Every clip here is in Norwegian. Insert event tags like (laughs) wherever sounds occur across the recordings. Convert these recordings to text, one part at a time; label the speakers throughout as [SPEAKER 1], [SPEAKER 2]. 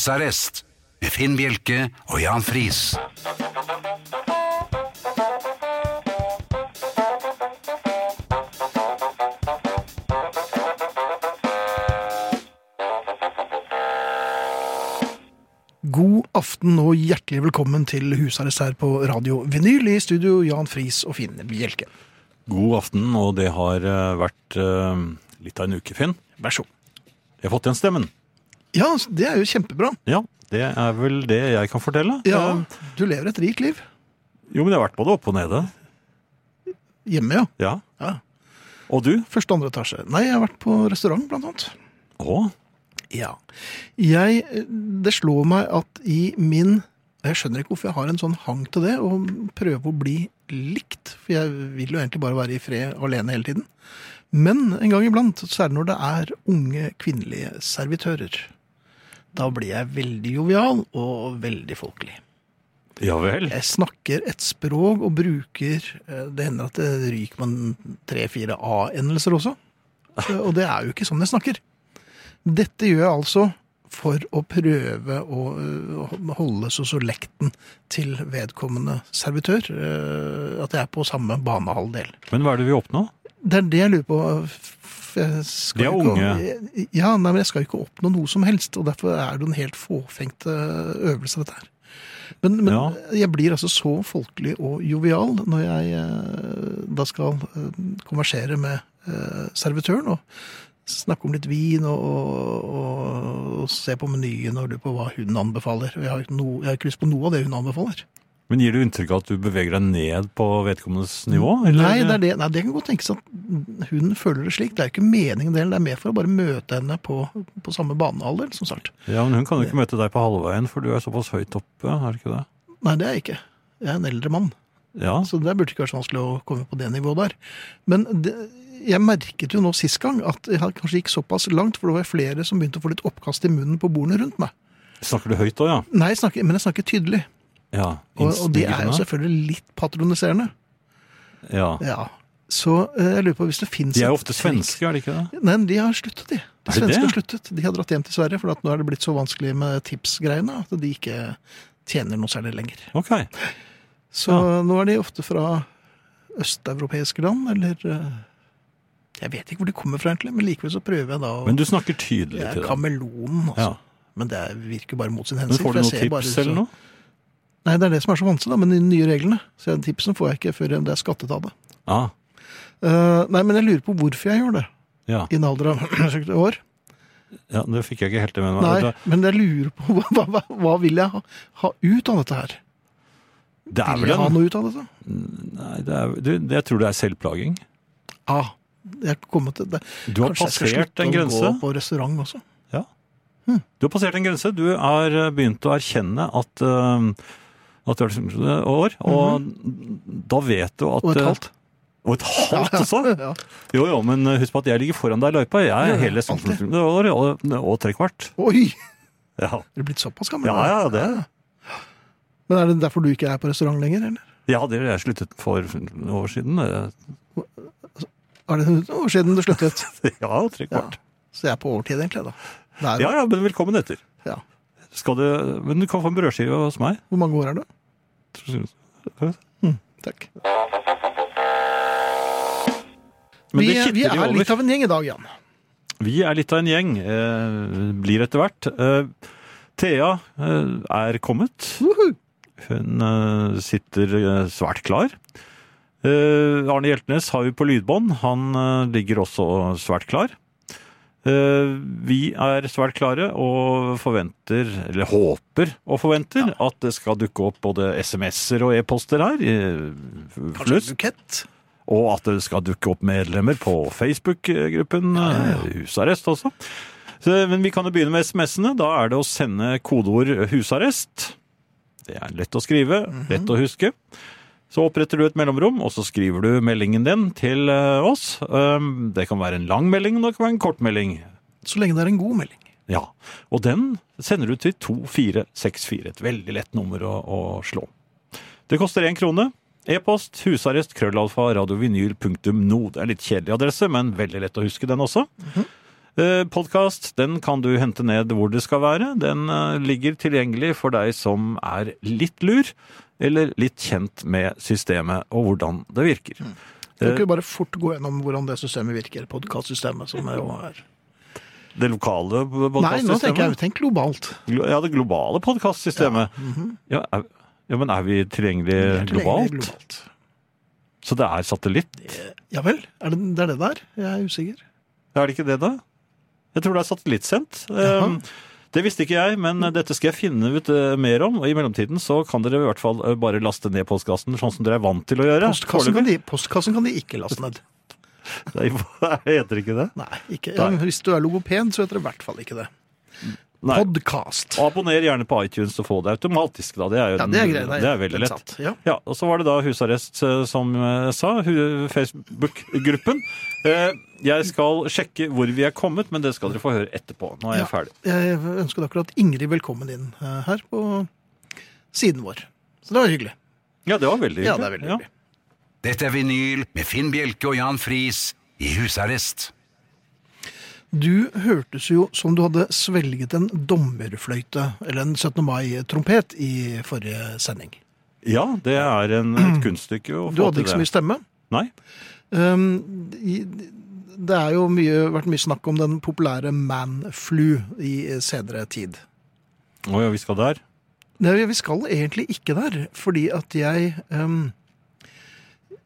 [SPEAKER 1] Husarrest med Finn Bjelke og Jan Friis.
[SPEAKER 2] God aften og hjertelig velkommen til husarrest her på Radio Vinyl. I studio Jan Friis og Finn Bjelke.
[SPEAKER 3] God aften, og det har eh, vært eh, litt av en uke, Finn.
[SPEAKER 2] Vær så god.
[SPEAKER 3] Jeg har fått igjen stemmen.
[SPEAKER 2] Ja, det er jo kjempebra.
[SPEAKER 3] Ja, det er vel det jeg kan fortelle.
[SPEAKER 2] Ja,
[SPEAKER 3] Eh,
[SPEAKER 2] Du lever et rikt liv.
[SPEAKER 3] Jo, men jeg har vært både oppe og nede.
[SPEAKER 2] Hjemme, ja.
[SPEAKER 3] Ja.
[SPEAKER 2] Ja.
[SPEAKER 3] Og du?
[SPEAKER 2] Første og andre etasje. Nei, jeg har vært på restaurant, blant annet.
[SPEAKER 3] Å,
[SPEAKER 2] Ja. Jeg, eh, det slår meg at i min Jeg skjønner ikke hvorfor jeg har en sånn hang til det, og prøve å bli likt. For jeg vil jo egentlig bare være i fred alene hele tiden. Men en gang iblant, særlig når det er unge kvinnelige servitører, da blir jeg veldig jovial og veldig folkelig.
[SPEAKER 3] ja vel.
[SPEAKER 2] Jeg snakker et språk og bruker eh, Det hender at det ryker man tre-fire A-endelser også. Eh, Og det er jo ikke sånn jeg snakker. Dette gjør jeg altså for å prøve å eh, holde sosolekten til vedkommende servitør. eh, At jeg er på samme banehalvdel.
[SPEAKER 3] Men hva er det vi oppnå?
[SPEAKER 2] Det er det jeg lurer på. f- Jeg skal
[SPEAKER 3] De er
[SPEAKER 2] ikke-
[SPEAKER 3] unge.
[SPEAKER 2] Ja, nei, men jeg skal ikke oppnå noe som helst, og derfor er det en helt fåfengt eh, øvelse, dette her. Men, men
[SPEAKER 3] Ja.
[SPEAKER 2] jeg blir altså så folkelig og jovial når jeg eh, da skal eh, konversere med eh, servitøren og snakke om litt vin og, og, og se på menyen og lure på hva hun anbefaler. Og Jeg har, ikke noe- jeg har ikke lyst på noe av det hun anbefaler.
[SPEAKER 3] Men gir du inntrykk av at du beveger deg ned på vedkommendes nivå? eller?
[SPEAKER 2] Nei, det, er det. Nei, det kan godt tenkes at hun føler det slik. Det er jo ikke meningen det, det er mer for å bare møte henne på, på samme banehalvdel, som sagt.
[SPEAKER 3] Ja, men hun kan jo ikke møte deg på halvveien, for du er såpass høyt oppe, er det ikke det?
[SPEAKER 2] Nei, det er jeg ikke. Jeg er en eldre mann,
[SPEAKER 3] Ja,
[SPEAKER 2] så det burde ikke vært så vanskelig å komme på det nivået der. Men det, jeg merket jo nå sist gang at jeg hadde kanskje gikk såpass langt, for det var flere som begynte å få litt oppkast i munnen på bordene rundt meg.
[SPEAKER 3] snakker du høyt da, ja?
[SPEAKER 2] Nei, jeg snakker, men jeg snakker tydelig.
[SPEAKER 3] Ja,
[SPEAKER 2] Og, og det er jo
[SPEAKER 3] innstigende.
[SPEAKER 2] selvfølgelig litt patroniserende.
[SPEAKER 3] Ja.
[SPEAKER 2] Ja. Så eh, jeg lurer på hvis det fins
[SPEAKER 3] De er jo ofte svenske, er det ikke det?
[SPEAKER 2] Nei, de har sluttet, de. De
[SPEAKER 3] Er det
[SPEAKER 2] svenske
[SPEAKER 3] det?
[SPEAKER 2] har sluttet. De har dratt hjem til Sverige, for at nå er det blitt så vanskelig med tipsgreiene at de ikke tjener noe særlig lenger.
[SPEAKER 3] Ok.
[SPEAKER 2] Så nå er de ofte fra østeuropeiske land, eller eh, Jeg vet ikke hvor de kommer fra, egentlig, men likevel så prøver jeg da å
[SPEAKER 3] Men du snakker tydelig
[SPEAKER 2] Jeg er
[SPEAKER 3] til dem.
[SPEAKER 2] kameleon, altså.
[SPEAKER 3] Ja.
[SPEAKER 2] Men det er- virker bare mot sin
[SPEAKER 3] Men
[SPEAKER 2] hensikt.
[SPEAKER 3] får
[SPEAKER 2] for
[SPEAKER 3] du
[SPEAKER 2] jeg
[SPEAKER 3] noen
[SPEAKER 2] ser bare
[SPEAKER 3] tips
[SPEAKER 2] så-
[SPEAKER 3] eller noe?
[SPEAKER 2] Nei, det er det som er så vanskelig da, med de nye reglene. Så jeg- tipsene får jeg ikke før det er skattet av det.
[SPEAKER 3] Ja,
[SPEAKER 2] Eh, nei, men jeg lurer på hvorfor jeg gjør det,
[SPEAKER 3] ja.
[SPEAKER 2] i en alder av (clears throat) 70 år.
[SPEAKER 3] Ja, det fikk jeg ikke helt med meg.
[SPEAKER 2] Nei,
[SPEAKER 3] Det-
[SPEAKER 2] men jeg lurer på hva, hva, hva- hva vil jeg ha, ha ut av dette her?
[SPEAKER 3] Det er
[SPEAKER 2] Vil
[SPEAKER 3] vel
[SPEAKER 2] jeg ha
[SPEAKER 3] en
[SPEAKER 2] noe ut av dette?
[SPEAKER 3] Nei, det er, du, det- jeg tror det er selvplaging.
[SPEAKER 2] Ja, jeg har kommet til det.
[SPEAKER 3] Du har
[SPEAKER 2] Kanskje jeg skal
[SPEAKER 3] passert
[SPEAKER 2] slutte
[SPEAKER 3] en
[SPEAKER 2] å
[SPEAKER 3] grense.
[SPEAKER 2] gå på restaurant også.
[SPEAKER 3] Du har passert en grense. Du har eh, begynt å erkjenne at, eh, at du er 15 år, og da vet du at
[SPEAKER 2] Mhm. Og et
[SPEAKER 3] eh,
[SPEAKER 2] halvt.
[SPEAKER 3] Og et halvt også?
[SPEAKER 2] (laughs) Ja.
[SPEAKER 3] Jo, jo, men eh, husk på at jeg ligger foran deg i løypa. Jeg
[SPEAKER 2] Ja,
[SPEAKER 3] er
[SPEAKER 2] ja,
[SPEAKER 3] hele 15 år og, og tre kvart.
[SPEAKER 2] Oi,
[SPEAKER 3] Ja.
[SPEAKER 2] er du blitt såpass gammel?
[SPEAKER 3] ja, ja, det.
[SPEAKER 2] Men er det derfor du ikke er på restaurant lenger, eller?
[SPEAKER 3] Ja, det har jeg sluttet for noen år siden. eh, (laughs)
[SPEAKER 2] Er det noen år siden du sluttet? (laughs)
[SPEAKER 3] Ja, tre kvart.
[SPEAKER 2] Så jeg er på overtid egentlig, da. Det er,
[SPEAKER 3] Ja, ja, men velkommen etter.
[SPEAKER 2] Ja.
[SPEAKER 3] Skal du, men du kan få en brødskive hos meg.
[SPEAKER 2] Hvor mange år er du? Takk.
[SPEAKER 3] Men
[SPEAKER 2] vi,
[SPEAKER 3] det
[SPEAKER 2] vi
[SPEAKER 3] kitter jo
[SPEAKER 2] er
[SPEAKER 3] over.
[SPEAKER 2] litt av en gjeng i dag, Jan.
[SPEAKER 3] Vi er litt av en gjeng. Eh, blir etter hvert. Eh, Thea eh, er kommet.
[SPEAKER 2] Woohoo!
[SPEAKER 3] Hun eh, sitter eh, svært klar. Eh, Arne Hjeltnes har vi på lydbånd. Han eh, ligger også svært klar. Eh, vi er svært klare og forventer, eller håper og forventer, at det skal dukke opp både SMS-er og e-poster her. eh,
[SPEAKER 2] Kanskje
[SPEAKER 3] Flust.
[SPEAKER 2] en bukett?
[SPEAKER 3] Og at det skal dukke opp medlemmer på Facebook-gruppen eh, Husarrest også. Så, men vi kan jo begynne med SMS-ene. Da er det å sende kodeord eh, 'husarrest'. Det er lett å skrive, lett å huske. Så oppretter du et mellomrom, og så skriver du meldingen din til eh, oss. Um, Det kan være en lang melding, og det kan være en kort melding.
[SPEAKER 2] Så lenge det er en god melding.
[SPEAKER 3] Ja, Og den sender du til 2464. Et veldig lett nummer å, å slå. Det koster én krone. E-post husarrest krøllalfa radiovinyl punktum no. Det er litt kjedelig adresse, men veldig lett å huske den også. Podkast den kan du hente ned hvor det skal være. Den eh, ligger tilgjengelig for deg som er litt lur, eller litt kjent med systemet og hvordan det virker.
[SPEAKER 2] Mm. Kan ikke vi bare fort gå gjennom hvordan det systemet virker? Podkastsystemet som er jo er
[SPEAKER 3] Det lokale
[SPEAKER 2] Nei, nå tenker
[SPEAKER 3] podkastsystemet?
[SPEAKER 2] jeg tenk globalt.
[SPEAKER 3] Ja, det globale podkastsystemet. Ja. er, ja, men er vi tilgjengelige
[SPEAKER 2] Tilgjengelig
[SPEAKER 3] Eh, globalt?
[SPEAKER 2] globalt. Eh,
[SPEAKER 3] Så det er satellitt?
[SPEAKER 2] Ja vel? Er det, det er det der? Jeg er usikker.
[SPEAKER 3] Er det ikke det, da? Jeg tror det er satellittsendt.
[SPEAKER 2] Jaha.
[SPEAKER 3] Um, Det visste ikke jeg, men dette skal jeg finne ut eh, mer om. Og I mellomtiden så kan dere i hvert fall eh, bare laste ned postkassen, sånn som dere er vant til å gjøre.
[SPEAKER 2] Postkassen kan de, postkassen kan de ikke laste ned.
[SPEAKER 3] (laughs) Nei, hva- heter ikke det?
[SPEAKER 2] Nei, ikke. Ja,
[SPEAKER 3] Nei.
[SPEAKER 2] hvis du er logoped, så heter det i hvert fall ikke det.
[SPEAKER 3] Nei.
[SPEAKER 2] Podcast.
[SPEAKER 3] Og abonner gjerne på iTunes og få det automatisk, da. Det er, jo
[SPEAKER 2] Ja,
[SPEAKER 3] den-
[SPEAKER 2] det er greit.
[SPEAKER 3] det er veldig
[SPEAKER 2] den
[SPEAKER 3] lett.
[SPEAKER 2] satt. Ja.
[SPEAKER 3] Ja, og så var det da husarrest, eh, som jeg sa, hu- Facebook-gruppen. Eh, Jeg skal sjekke hvor vi er kommet, men det skal dere få høre etterpå. Nå er jeg
[SPEAKER 2] Ja.
[SPEAKER 3] ferdig.
[SPEAKER 2] Jeg ønsker akkurat Ingrid velkommen inn eh, her på siden vår. Så det var hyggelig.
[SPEAKER 3] Ja, det var veldig
[SPEAKER 2] Ja, det er veldig
[SPEAKER 3] Ja.
[SPEAKER 2] hyggelig.
[SPEAKER 1] Dette er vinyl med Finn Bjelke og Jan Friis i husarrest.
[SPEAKER 2] Du hørtes jo som du hadde svelget en dommerfløyte, eller en 17. mai-trompet, i forrige sending.
[SPEAKER 3] Ja, det er en, et kunststykke å
[SPEAKER 2] Mm. Du
[SPEAKER 3] få
[SPEAKER 2] hadde
[SPEAKER 3] til
[SPEAKER 2] ikke så mye
[SPEAKER 3] det.
[SPEAKER 2] stemme.
[SPEAKER 3] Nei,
[SPEAKER 2] Um, i- det er jo mye, vært mye snakk om den populære man-flu i senere tid.
[SPEAKER 3] Å ja, vi skal der.
[SPEAKER 2] Nei, vi skal egentlig ikke der, fordi at jeg ehm,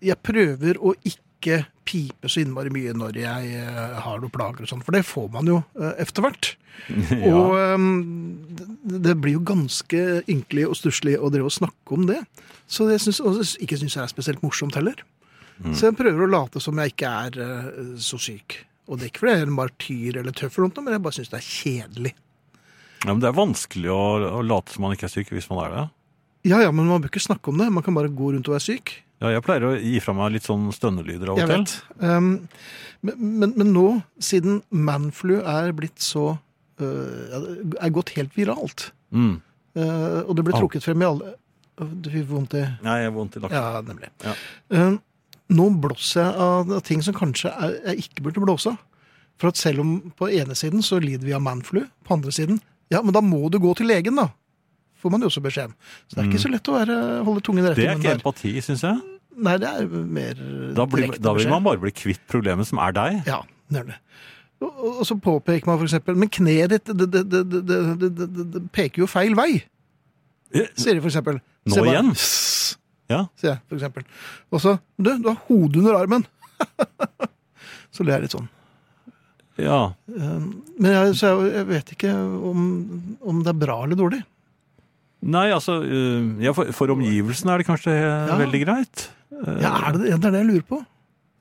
[SPEAKER 2] Jeg prøver å ikke pipe så innmari mye når jeg eh, har noen plager og sånn, for det får man jo eh, etter hvert. (laughs) Og
[SPEAKER 3] Ja.
[SPEAKER 2] ehm, det, det blir jo ganske ynkelig og stusslig å drive og snakke om det. Så det syns, og det s- ikke syns jeg er spesielt morsomt heller. Så jeg prøver å late som jeg ikke er eh, så syk. Og det er ikke fordi jeg er en martyr eller tøff, eller noe, men jeg bare syns det er kjedelig.
[SPEAKER 3] ja, men det er vanskelig å, å late som man ikke er syk hvis man er det.
[SPEAKER 2] Ja ja, men man bør ikke snakke om det. Man kan bare gå rundt og være syk.
[SPEAKER 3] Ja, jeg pleier å gi fra meg litt sånn stønnelyder av og
[SPEAKER 2] Jeg
[SPEAKER 3] til.
[SPEAKER 2] vet. Um, men, men, men nå, siden manflu er blitt så øh, ja, det Er gått helt viralt,
[SPEAKER 3] Mm.
[SPEAKER 2] øh, og det ble
[SPEAKER 3] Au.
[SPEAKER 2] trukket frem i alle Åh, Det fikk vondt i
[SPEAKER 3] Nei, jeg har vondt i nakken.
[SPEAKER 2] Ja, nemlig.
[SPEAKER 3] Ja.
[SPEAKER 2] Um, nå blåser jeg av av ting som kanskje er, jeg ikke burde blåse av. For at selv om på ene siden så lider vi av manflu, på andre siden Ja, men da må du gå til legen, da. Får man jo også beskjed om. Så det er ikke så lett å være, holde tungen rett i
[SPEAKER 3] Mm. Det er
[SPEAKER 2] munnen
[SPEAKER 3] ikke
[SPEAKER 2] der.
[SPEAKER 3] empati, syns jeg.
[SPEAKER 2] Nei, det er mer øh,
[SPEAKER 3] Da, blir,
[SPEAKER 2] direkte
[SPEAKER 3] da vil
[SPEAKER 2] beskjed.
[SPEAKER 3] man bare bli kvitt problemet som er deg.
[SPEAKER 2] Ja, nemlig. Og, og- og så påpeker man f.eks.: Men kneet ditt det, det, det, det, det, det, det, det, det peker jo feil vei, sier de f.eks.
[SPEAKER 3] Nå igjen? Ja.
[SPEAKER 2] Sier jeg, for eksempel. Og så Du, du har hodet under armen! (laughs) så ler jeg litt sånn.
[SPEAKER 3] Ja.
[SPEAKER 2] Men jeg, så jeg, jeg vet ikke om, om det er bra eller dårlig.
[SPEAKER 3] Nei, altså øh, ja, for, for omgivelsene er det kanskje eh,
[SPEAKER 2] Ja.
[SPEAKER 3] veldig greit. Eh,
[SPEAKER 2] Ja, er det, det er det jeg lurer på.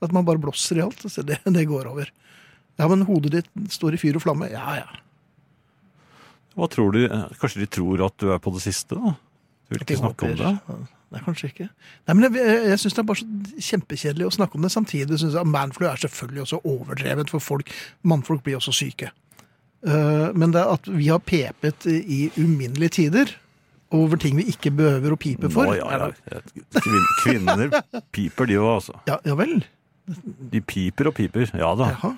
[SPEAKER 2] At man bare blåser i alt. Så det, det går over. Ja, men hodet ditt står i fyr og flamme. Ja, ja.
[SPEAKER 3] Hva tror du? eh, Kanskje de tror at du er på det siste, da? Du vil ikke snakke om det?
[SPEAKER 2] Nei, kanskje ikke. Nei, men Jeg, jeg syns det er bare så kjempekjedelig å snakke om det. Samtidig syns jeg at manflu er selvfølgelig også overdrevet, for folk, mannfolk blir også syke. Eh, men det at vi har pepet i uminnelige tider over ting vi ikke behøver å pipe for
[SPEAKER 3] Nå, ja, ja. Kvin, kvinner piper, de òg, altså.
[SPEAKER 2] ja, ja vel?
[SPEAKER 3] De piper og piper. Ja da.
[SPEAKER 2] Jaha.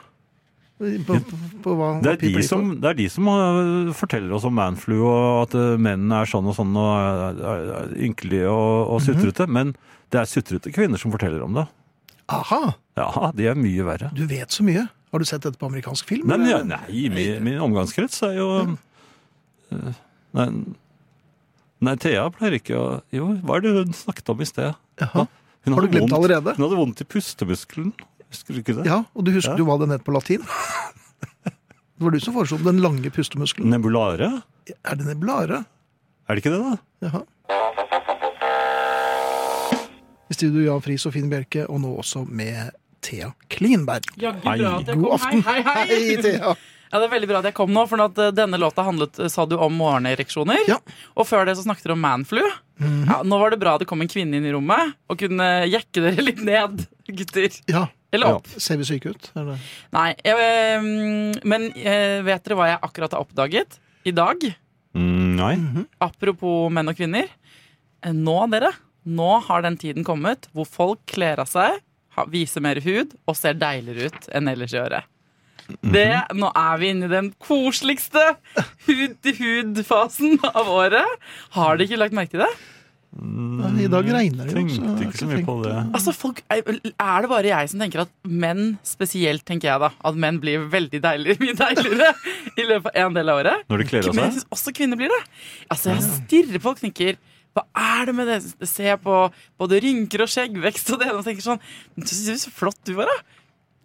[SPEAKER 2] På, på, på hva, hva
[SPEAKER 3] Det er,
[SPEAKER 2] piper
[SPEAKER 3] de
[SPEAKER 2] for?
[SPEAKER 3] som, det er de som øh, forteller oss om manflu og at øh, mennene er sånn og sånn og er- er- er ynkelige og,
[SPEAKER 2] Mhm.
[SPEAKER 3] og sutrete. Men det er sutrete kvinner som forteller om det.
[SPEAKER 2] Aha!
[SPEAKER 3] Ja, de er mye verre.
[SPEAKER 2] Du vet så mye. Har du sett dette på amerikansk film?
[SPEAKER 3] Nei, men, ja,
[SPEAKER 2] eller?
[SPEAKER 3] nei min, min omgangskrets er jo øh, nei, nei, Thea pleier ikke å Jo, hva er det hun snakket om i sted?
[SPEAKER 2] Jaha.
[SPEAKER 3] Hun
[SPEAKER 2] Har du glemt
[SPEAKER 3] hadde
[SPEAKER 2] det
[SPEAKER 3] vondt-
[SPEAKER 2] allerede?
[SPEAKER 3] Hun hadde vondt i pustemuskelen. Husker du ikke det?
[SPEAKER 2] Ja, og du husker
[SPEAKER 3] Ja.
[SPEAKER 2] jo hva den het på latin? (laughs) Det var du som foreslo den lange pustemuskelen.
[SPEAKER 3] Nebulare?
[SPEAKER 2] Er det neblare?
[SPEAKER 3] Er det ikke det, da?
[SPEAKER 2] Jaha. I studio Jan Friis og Finn Bjelke, og nå også med Thea Klingenberg.
[SPEAKER 4] Jaggu
[SPEAKER 3] Hei.
[SPEAKER 4] bra at jeg
[SPEAKER 2] God
[SPEAKER 4] kom.
[SPEAKER 2] aften.
[SPEAKER 4] Hei, hei, hei.
[SPEAKER 2] Hei, Thea!
[SPEAKER 4] Ja, Det er veldig bra at jeg kom nå, for at eh, denne låta handlet, eh, sa du, om morgenereksjoner.
[SPEAKER 2] Ja. Mhm.
[SPEAKER 4] Og før det så snakket dere om manflu. ja, nå var det bra det kom en kvinne inn i rommet og kunne eh, jekke dere (laughs) litt ned, gutter.
[SPEAKER 2] Ja,
[SPEAKER 4] Eller opp.
[SPEAKER 2] Ser vi syke ut? Er det?
[SPEAKER 4] Nei, jeg, eh, men eh, vet dere hva jeg akkurat har oppdaget i dag?
[SPEAKER 3] Mm, nei.
[SPEAKER 2] Mhm.
[SPEAKER 4] Apropos menn og kvinner. Eh, Nå, dere, nå har den tiden kommet hvor folk kler av seg, ha- viser mer hud og ser deiligere ut enn ellers i året. Det, nå er vi inne i den koseligste hud-til-hud-fasen av året. Har dere ikke lagt merke til det?
[SPEAKER 2] Men I dag regner det jo. så jeg har
[SPEAKER 3] Mm, Tenkte ikke så mye
[SPEAKER 2] tenkt-
[SPEAKER 3] på det.
[SPEAKER 4] Altså, folk, er det bare jeg som tenker at menn spesielt, tenker jeg da, at menn blir veldig deiligere, mye deiligere i løpet av en del av året?
[SPEAKER 3] Når de kler av
[SPEAKER 4] Men
[SPEAKER 3] seg?
[SPEAKER 4] jeg synes også kvinner blir det. Altså, jeg stirrer på og tenker hva er det med det? Ser jeg på både rynker og skjeggvekst og det ene og tenker sånn Du ser så flott du var, da.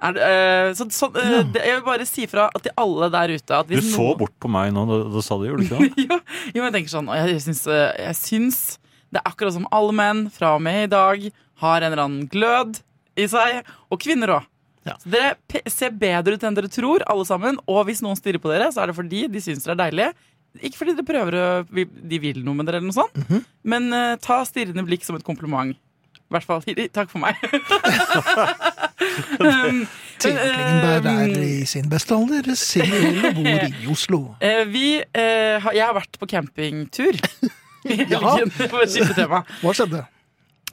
[SPEAKER 4] Er det, eh, så, sånn, eh, det, jeg vil bare si fra til alle der ute at
[SPEAKER 3] Du
[SPEAKER 4] hvis
[SPEAKER 3] så
[SPEAKER 4] noen-
[SPEAKER 3] bort på meg nå da, da sa det, gjorde du ikke
[SPEAKER 4] (laughs)
[SPEAKER 3] det?
[SPEAKER 4] jo, jo, jeg tenker sånn og jeg syns, eh, jeg syns det er akkurat som alle menn fra og med i dag har en eller annen glød i seg. Og kvinner òg.
[SPEAKER 2] Ja.
[SPEAKER 4] Dere pe- ser bedre ut enn dere tror, alle sammen. Og hvis noen stirrer på dere, så er det fordi de syns dere er deilige. Ikke fordi dere prøver å vi- De vil noe med dere, eller noe sånt. Men eh, ta stirrende blikk som et kompliment. I hvert fall takk for meg. (laughs) um, men, eh,
[SPEAKER 2] Klingberg er i sin beste alder, singel og bor i Oslo.
[SPEAKER 4] Eh, vi, eh, har- jeg har vært på campingtur. (laughs) I
[SPEAKER 2] Jaha.
[SPEAKER 4] helgen, for å skifte tema.
[SPEAKER 2] Hva skjedde?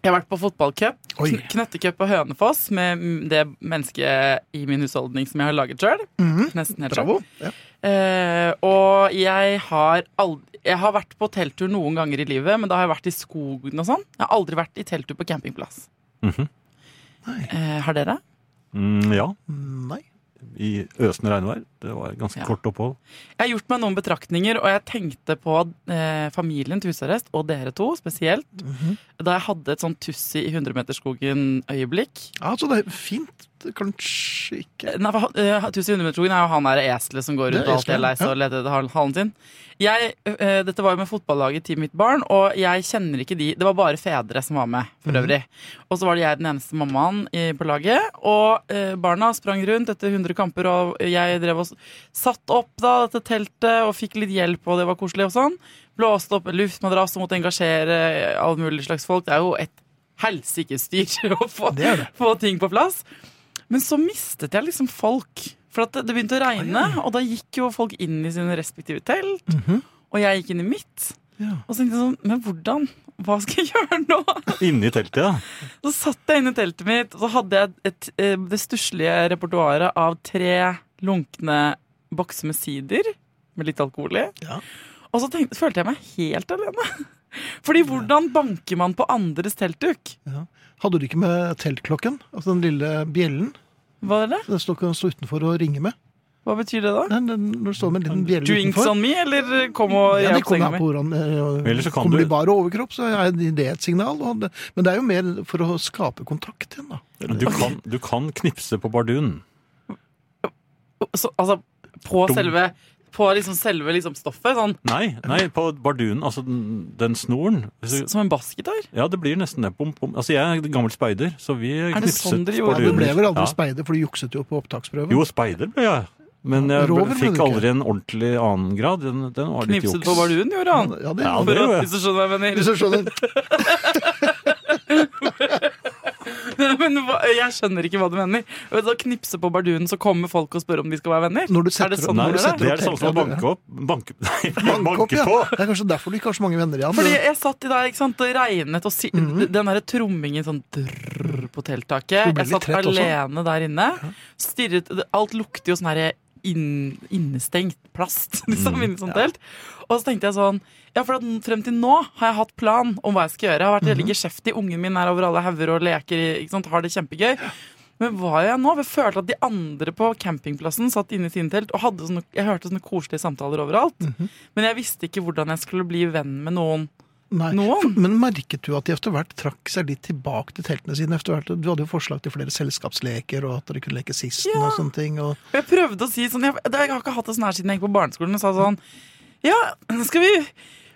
[SPEAKER 4] Jeg har vært på fotballcup.
[SPEAKER 2] Oi.
[SPEAKER 4] kn- Knøttecup på Hønefoss med mm, det mennesket i min husholdning som jeg har laget sjøl. Nesten
[SPEAKER 2] Mhm.
[SPEAKER 4] helt sjøl.
[SPEAKER 2] Bravo. Ja.
[SPEAKER 4] Eh, og jeg har aldri Jeg har vært på telttur noen ganger i livet, men da har jeg vært i skogen og sånn. Jeg har aldri vært i telttur på campingplass.
[SPEAKER 3] Mhm.
[SPEAKER 4] eh, har dere?
[SPEAKER 3] Mm, ja.
[SPEAKER 2] Nei.
[SPEAKER 3] I øsende regnvær. Det var et ganske
[SPEAKER 4] Ja.
[SPEAKER 3] kort opphold.
[SPEAKER 4] Jeg har gjort meg noen betraktninger, og jeg tenkte på eh, familien til husarrest, og dere to spesielt, da jeg hadde et sånn Tussi i 100-meterskogen-øyeblikk.
[SPEAKER 2] Ja, så det er fint. Kanskje ikke
[SPEAKER 4] Nei, for, eh, Tussi i 100-meterskogen er jo han der eselet som går
[SPEAKER 2] Det er
[SPEAKER 4] rundt og alltid er
[SPEAKER 2] eselet,
[SPEAKER 4] lei seg
[SPEAKER 2] ja.
[SPEAKER 4] og leter etter hal- halen sin. Jeg, eh, dette var jo med fotballaget til mitt barn, og jeg kjenner ikke de Det var bare fedre som var med, for
[SPEAKER 2] Mhm.
[SPEAKER 4] øvrig. Og så var det jeg den eneste mammaen i, på laget, og eh, barna sprang rundt etter 100 kamper, og jeg drev og s- satt opp da dette teltet og fikk litt hjelp, og det var koselig og sånn. Blåste opp en luftmadrass og måtte engasjere alle mulige slags folk. Det er jo et helsikes styr (laughs) å få,
[SPEAKER 2] Det er det.
[SPEAKER 4] få ting på plass. Men så mistet jeg liksom folk. For at det- det begynte å regne, og da gikk jo folk inn i sine respektive telt. Og jeg gikk inn i mitt.
[SPEAKER 2] Mhm. Ja.
[SPEAKER 4] Og så tenkte jeg sånn Men hvordan? Hva skal jeg (laughs) gjøre nå?
[SPEAKER 3] Inni teltet, ja.
[SPEAKER 4] Så satt jeg inne i teltet mitt, og så hadde jeg et, eh, det stusslige repertoaret av tre lunkne bokser med sider med litt alkohol i.
[SPEAKER 2] Ja.
[SPEAKER 4] Og så tenkte, følte jeg meg helt alene. (laughs) Fordi hvordan banker man på andres teltduk?
[SPEAKER 2] Hadde du ikke med teltklokken? Altså den lille bjellen?
[SPEAKER 4] Hva, er det?
[SPEAKER 2] Den står ikke å stå utenfor og ringe med.
[SPEAKER 4] Hva betyr det da?
[SPEAKER 2] Den, den, når det står med en liten bjelle
[SPEAKER 4] Drinks
[SPEAKER 2] utenfor.
[SPEAKER 4] on me, eller kom og
[SPEAKER 2] Ja,
[SPEAKER 4] rev
[SPEAKER 2] de
[SPEAKER 4] opp
[SPEAKER 2] kommer
[SPEAKER 4] senga
[SPEAKER 2] an
[SPEAKER 4] mi?
[SPEAKER 2] på hvordan eh,
[SPEAKER 3] Ellers så kan
[SPEAKER 2] Kommer
[SPEAKER 3] du-
[SPEAKER 2] de bare overkropp, så er det et signal. Og det, men det er jo mer for å skape kontakt igjen, da.
[SPEAKER 3] Du kan, du kan knipse på bardunen.
[SPEAKER 4] så, altså, på
[SPEAKER 3] Dum.
[SPEAKER 4] selve, på liksom selve liksom stoffet, sånn,
[SPEAKER 3] Nei, nei, på bardunen, altså den, den snoren. Hvis du-
[SPEAKER 4] som en bassgitar.
[SPEAKER 3] Ja, det blir nesten det. Bom, bom. Altså, jeg er gammel speider, så vi knipset
[SPEAKER 4] sånn dere gjorde?
[SPEAKER 2] Ja, du ble vel aldri
[SPEAKER 3] Ja.
[SPEAKER 2] speider, for du jukset jo på opptaksprøven.
[SPEAKER 3] Jo, speider ble jeg. Men jeg
[SPEAKER 2] Rover ble du
[SPEAKER 3] fikk
[SPEAKER 2] ikke.
[SPEAKER 3] aldri en ordentlig annen grad. Den, den var litt
[SPEAKER 4] Knipset
[SPEAKER 3] juks.
[SPEAKER 4] på barduen, gjorde han.
[SPEAKER 2] Ja, det,
[SPEAKER 3] Ja,
[SPEAKER 4] For
[SPEAKER 3] det
[SPEAKER 4] å,
[SPEAKER 3] gjorde jeg.
[SPEAKER 4] hvis du skjønner hva jeg
[SPEAKER 2] Hvis
[SPEAKER 4] mener.
[SPEAKER 2] du
[SPEAKER 3] (laughs)
[SPEAKER 2] skjønner.
[SPEAKER 4] (laughs) Men hva, jeg skjønner ikke hva du mener. Og Da knipse på barduen, så kommer folk og spør om de skal være venner.
[SPEAKER 2] Når du
[SPEAKER 4] er det
[SPEAKER 2] setter opp-
[SPEAKER 4] sånn
[SPEAKER 3] Nei,
[SPEAKER 2] Når
[SPEAKER 4] det
[SPEAKER 2] du
[SPEAKER 4] er?
[SPEAKER 2] setter
[SPEAKER 3] det
[SPEAKER 2] opp
[SPEAKER 3] er det samme som å
[SPEAKER 2] teltene-
[SPEAKER 3] banke opp. Banke, (laughs) nei,
[SPEAKER 2] Banke opp, (laughs) ja.
[SPEAKER 3] på!
[SPEAKER 2] Det er kanskje derfor du ikke har så mange venner igjen.
[SPEAKER 4] Fordi jeg satt i dag, ikke sant, det regnet og si,
[SPEAKER 2] Mhm.
[SPEAKER 4] den der trommingen sånn drrr på
[SPEAKER 2] Du
[SPEAKER 4] telttaket.
[SPEAKER 2] ble
[SPEAKER 4] Jeg
[SPEAKER 2] litt
[SPEAKER 4] satt
[SPEAKER 2] trett også.
[SPEAKER 4] alene der inne. Stirret, alt lukter jo sånn her inn, innestengt plast, (laughs) liksom,
[SPEAKER 2] Mm.
[SPEAKER 4] inni sånn telt. Og så tenkte jeg sånn, ja, for at frem til nå har jeg hatt plan om hva jeg skal gjøre. Jeg har vært
[SPEAKER 2] Mhm.
[SPEAKER 4] veldig geskjeftig, ungen min er over alle hauger og leker, i- ikke sant, har det kjempegøy. Men hva gjør jeg nå? Jeg følte at de andre på campingplassen satt inne i sine telt, og hadde sånne, jeg hørte sånne koselige samtaler overalt.
[SPEAKER 2] Mhm.
[SPEAKER 4] Men jeg visste ikke hvordan jeg skulle bli venn med noen
[SPEAKER 2] Nei.
[SPEAKER 4] noen.
[SPEAKER 2] Men merket du at de etter hvert trakk seg litt tilbake til teltene sine? etter hvert? Du hadde jo forslag til flere selskapsleker, og at dere kunne leke sisten og sånne ting. Og...
[SPEAKER 4] Og jeg prøvde å si sånn Jeg, det- jeg har ikke hatt det sånn her siden jeg gikk på barneskolen og sa sånn Ja, skal vi,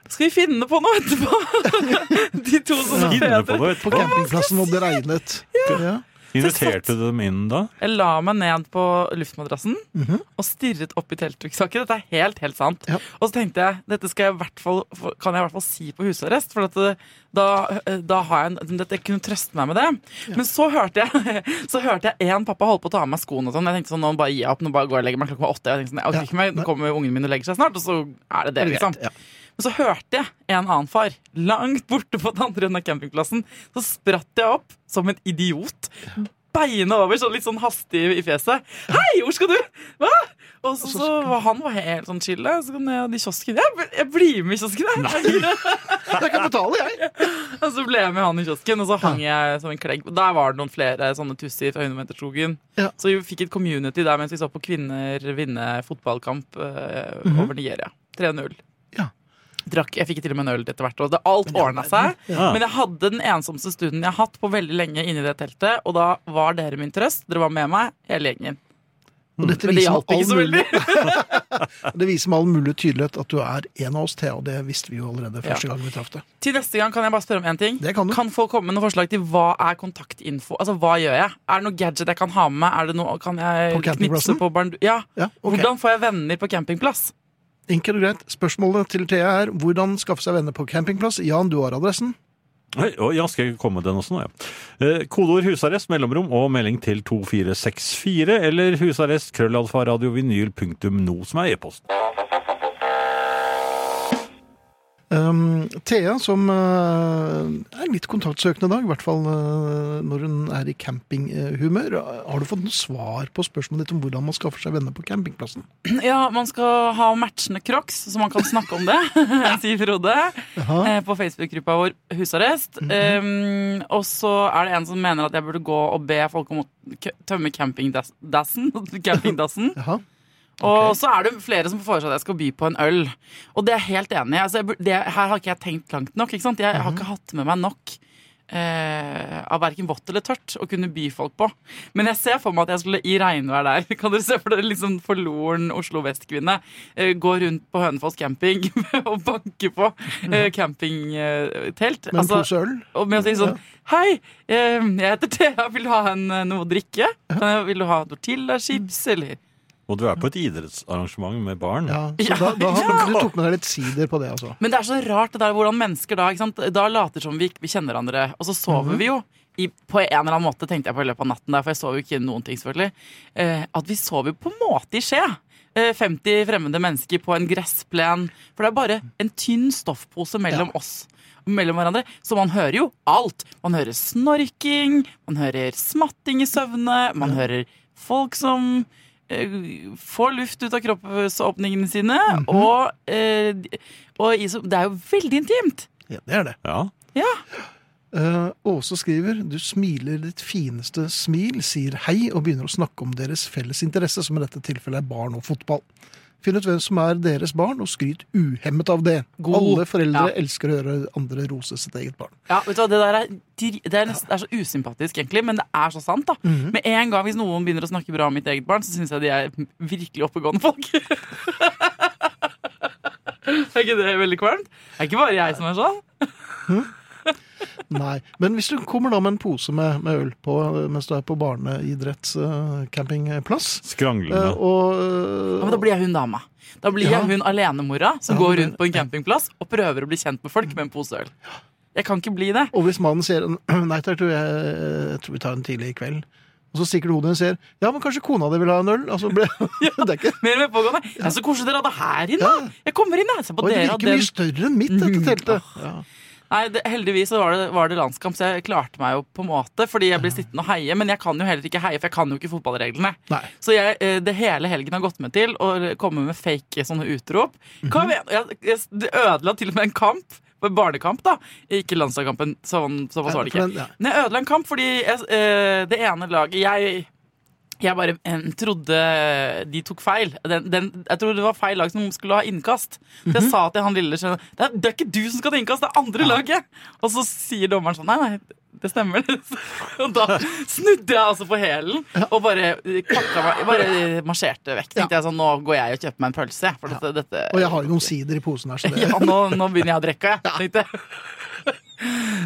[SPEAKER 4] skal vi finne på noe etterpå? (laughs) De to sånne
[SPEAKER 3] Finne på
[SPEAKER 4] fedre.
[SPEAKER 3] det
[SPEAKER 2] På
[SPEAKER 3] etterpå.
[SPEAKER 2] campingplassen hvor det regnet. Ja.
[SPEAKER 3] Inviterte du dem inn da?
[SPEAKER 4] Jeg la meg ned på luftmadrassen og stirret opp i teltrykksaken. Dette er helt, helt sant.
[SPEAKER 2] Ja.
[SPEAKER 4] Og så tenkte jeg dette skal jeg i hvert fall, kan jeg i hvert fall si på husarrest, for at det, da, eh, da har jeg en, dette, jeg kunne trøste meg med det. Men så hørte jeg (laughs) Så hørte jeg en pappa holdt på å ta av meg skoene og sånn. Jeg tenkte sånn, nå bare gir jeg opp, nå bare går jeg og legger meg klokka var åtte. Jeg tenkte sånn, jeg orker
[SPEAKER 2] Ja,
[SPEAKER 4] ikke mer, nå
[SPEAKER 2] nei.
[SPEAKER 4] kommer ungen min og legger seg snart, og så er det det, liksom.
[SPEAKER 2] Ja.
[SPEAKER 4] Men så hørte jeg en annen far langt borte på den andre enden av campingplassen. Så spratt jeg opp som en idiot. beina over, sånn litt sånn hastig i fjeset. 'Hei, hvor skal du?' Hva? Og så, så var han var helt sånn chill. da. Så kom jeg i kiosken. Jeg, bl- jeg blir med i kiosken, jeg!
[SPEAKER 2] Jeg kan betale, jeg!
[SPEAKER 4] (laughs) og så ble jeg med han i kiosken, og så hang jeg som en klegg. Der var det noen flere sånne tusser fra Høynemeterskogen.
[SPEAKER 2] Ja.
[SPEAKER 4] Så vi fikk et community der mens vi så på kvinner vinne fotballkamp eh, over Nigeria. 3-0.
[SPEAKER 2] Mhm. Ja.
[SPEAKER 4] Drakk, jeg fikk til og med en øl etter hvert. Og det, alt ordna seg.
[SPEAKER 3] Ja.
[SPEAKER 4] Men jeg hadde den ensomste stunden jeg har hatt på veldig lenge inni det teltet. Og da var dere min trøst. Dere var med meg, hele gjengen.
[SPEAKER 2] Og dette
[SPEAKER 4] Men det
[SPEAKER 2] viser med
[SPEAKER 4] hjalp ikke så
[SPEAKER 2] all mulig-
[SPEAKER 4] veldig.
[SPEAKER 2] Det viser med all mulig tydelighet at du er en av oss, Thea. Og det visste vi jo allerede første gang vi traff deg.
[SPEAKER 4] Til neste gang kan jeg bare spørre om én ting.
[SPEAKER 2] Det kan du.
[SPEAKER 4] folk komme med noen forslag til hva er kontaktinfo? Altså, hva gjør jeg? Er det noe gadget jeg kan ha med meg? Er det noe, kan
[SPEAKER 2] På
[SPEAKER 4] jeg knipse
[SPEAKER 2] campingplassen?
[SPEAKER 4] på barn... Ja.
[SPEAKER 2] Ja, ok.
[SPEAKER 4] Hvordan får jeg venner på campingplass? (clears throat)
[SPEAKER 2] Enkelt og greit. Spørsmålet til Thea er hvordan skaffe seg venner på campingplass. Jan, du har adressen.
[SPEAKER 3] Oi, oi, ja, skal jeg komme med den også nå, ja. Eh, Kodeord husarrest, mellomrom og melding til 2464 eller husarrest krøllalfa radiovinyl.no, som er e-post.
[SPEAKER 2] Um, Thea, som eh, er litt kontaktsøkende i dag, i hvert fall eh, når hun er i campinghumør, har du fått noe svar på spørsmålet ditt om hvordan man skaffer seg venner på campingplassen?
[SPEAKER 4] Ja, man skal ha matchende crocs, så man kan snakke om det, (laughs) sier Frode. Eh, på Facebook-gruppa vår Husarrest.
[SPEAKER 2] Mhm.
[SPEAKER 4] um, og så er det en som mener at jeg burde gå og be folk om å k- tømme campingdassen. (laughs) campingdassen.
[SPEAKER 2] Jaha.
[SPEAKER 4] Og så er det flere som foreslår at jeg skal by på en øl. Og det er jeg helt enig i. Altså, jeg bur- det, her har ikke jeg tenkt langt nok. Ikke sant? Jeg har
[SPEAKER 2] Mhm.
[SPEAKER 4] ikke hatt med meg nok. eh, av verken vått eller tørt å kunne by folk på. Men jeg ser for meg at jeg skulle i regnvær der. (laughs) Kan dere se for dere liksom forloren Oslo Vest-kvinne eh, gå rundt på Hønefoss camping (laughs) og banke på eh, campingtelt?
[SPEAKER 2] Mhm.
[SPEAKER 4] Altså,
[SPEAKER 2] Med en pose øl?
[SPEAKER 4] og med å si sånn Hei, eh, jeg heter Thea. Vil du ha en, eh, noe å drikke? Kan jeg, vil du ha tortillachips, eller?
[SPEAKER 3] Og du er på et idrettsarrangement med barn.
[SPEAKER 2] Ja,
[SPEAKER 4] (laughs)
[SPEAKER 2] så da, da har, Du tok med deg litt sider på det, altså.
[SPEAKER 4] Men det er så rart det der hvordan mennesker da ikke sant? Da later som vi ikke kjenner hverandre, og så sover vi jo. I, på en eller annen måte tenkte jeg på i løpet av natten, der, for jeg sov jo ikke noen ting, selvfølgelig. Eh, at vi sover jo på en måte i skje. Eh, 50 fremmede mennesker på en gressplen. For det er bare en tynn stoffpose mellom oss. Mellom hverandre. Så man hører jo alt. Man hører snorking, man hører smatting i søvne, man hører folk som eh, får luft ut av kroppsåpningene sine.
[SPEAKER 2] Mhm.
[SPEAKER 4] Og, eh, d- og i, så- det er jo veldig intimt.
[SPEAKER 2] Ja, det er det.
[SPEAKER 3] Ja.
[SPEAKER 2] Eh, Åse skriver du smiler ditt fineste smil, sier hei og begynner å snakke om deres felles interesse, som i dette tilfellet er barn og fotball. Finn ut hvem som er deres barn, og skryt uhemmet av det.
[SPEAKER 4] God.
[SPEAKER 2] Alle foreldre
[SPEAKER 4] Ja.
[SPEAKER 2] elsker å høre andre rose sitt eget barn.
[SPEAKER 4] Ja, vet du hva, Det der er, dri- det er, nesten, det er så usympatisk, egentlig, men det er så sant. da
[SPEAKER 2] Mhm.
[SPEAKER 4] Med en gang hvis noen begynner å snakke bra om mitt eget barn, så syns jeg de er virkelig oppegående folk. (laughs) er ikke det veldig kvalmt? Det er ikke bare jeg som er sånn.
[SPEAKER 2] Nei, Men hvis du kommer da med en pose med, med øl på eh, mens du er på barneidrettscampingplass eh,
[SPEAKER 4] Eh,
[SPEAKER 3] Skranglende.
[SPEAKER 2] og
[SPEAKER 4] Ja, men da blir jeg hun dama. Da blir
[SPEAKER 2] Ja.
[SPEAKER 4] jeg hun alenemora som
[SPEAKER 2] Ja,
[SPEAKER 4] går
[SPEAKER 2] men-
[SPEAKER 4] rundt på en campingplass og prøver å bli kjent med folk med en pose øl. Jeg kan ikke bli det.
[SPEAKER 2] Og hvis mannen sier (clears throat) Nei takk, du, jeg, jeg tror vi tar en tidlig i kveld. Og så stikker du hodet og sier Ja, men kanskje kona di vil ha en øl? Altså,
[SPEAKER 4] (laughs)
[SPEAKER 2] ble, (laughs) det er ikke
[SPEAKER 4] Mer og mer pågående. Det er så altså, koselig dere hadde her inne.
[SPEAKER 2] Ja.
[SPEAKER 4] da. Jeg kommer inn, jeg. Se på
[SPEAKER 2] Oi, det
[SPEAKER 4] dere og
[SPEAKER 2] virker
[SPEAKER 4] den.
[SPEAKER 2] mye større enn mitt, dette
[SPEAKER 4] Mm.
[SPEAKER 2] teltet.
[SPEAKER 4] Ah. Nei, det, heldigvis så var det, var det landskamp, så jeg klarte meg jo på en måte. Fordi jeg ble sittende og heie, men jeg kan jo heller ikke heie, for jeg kan jo ikke fotballreglene.
[SPEAKER 2] Nei.
[SPEAKER 4] Så jeg, eh, det hele helgen har gått med til å komme med fake sånne utrop.
[SPEAKER 2] Mhm.
[SPEAKER 4] Kom igjen! Jeg, jeg, det ødela til og med en kamp. En barnekamp, da. Ikke landslagskampen. Sånn, såpass var det ikke.
[SPEAKER 2] Men, ja.
[SPEAKER 4] Men jeg ødela en kamp fordi jeg, eh, det ene laget Jeg, jeg bare eh, trodde de tok feil. Den, den, jeg tror det var feil lag som skulle ha innkast. Så
[SPEAKER 2] Mhm.
[SPEAKER 4] jeg sa til han lille skjønne, det, er- det er ikke du som skal til innkast, det er andre laget! Og så sier dommeren sånn Nei, nei. Det stemmer. (laughs) Og da snudde jeg altså på hælen og bare, kakka meg, bare marsjerte vekk. Tenkte jeg sånn, Nå går jeg og kjøper meg en pølse. jeg, For dette, dette,
[SPEAKER 2] Og jeg har jo noen sider i posen her, så det
[SPEAKER 4] (laughs) ja, nå, nå begynner jeg å drikke, jeg, tenkte jeg.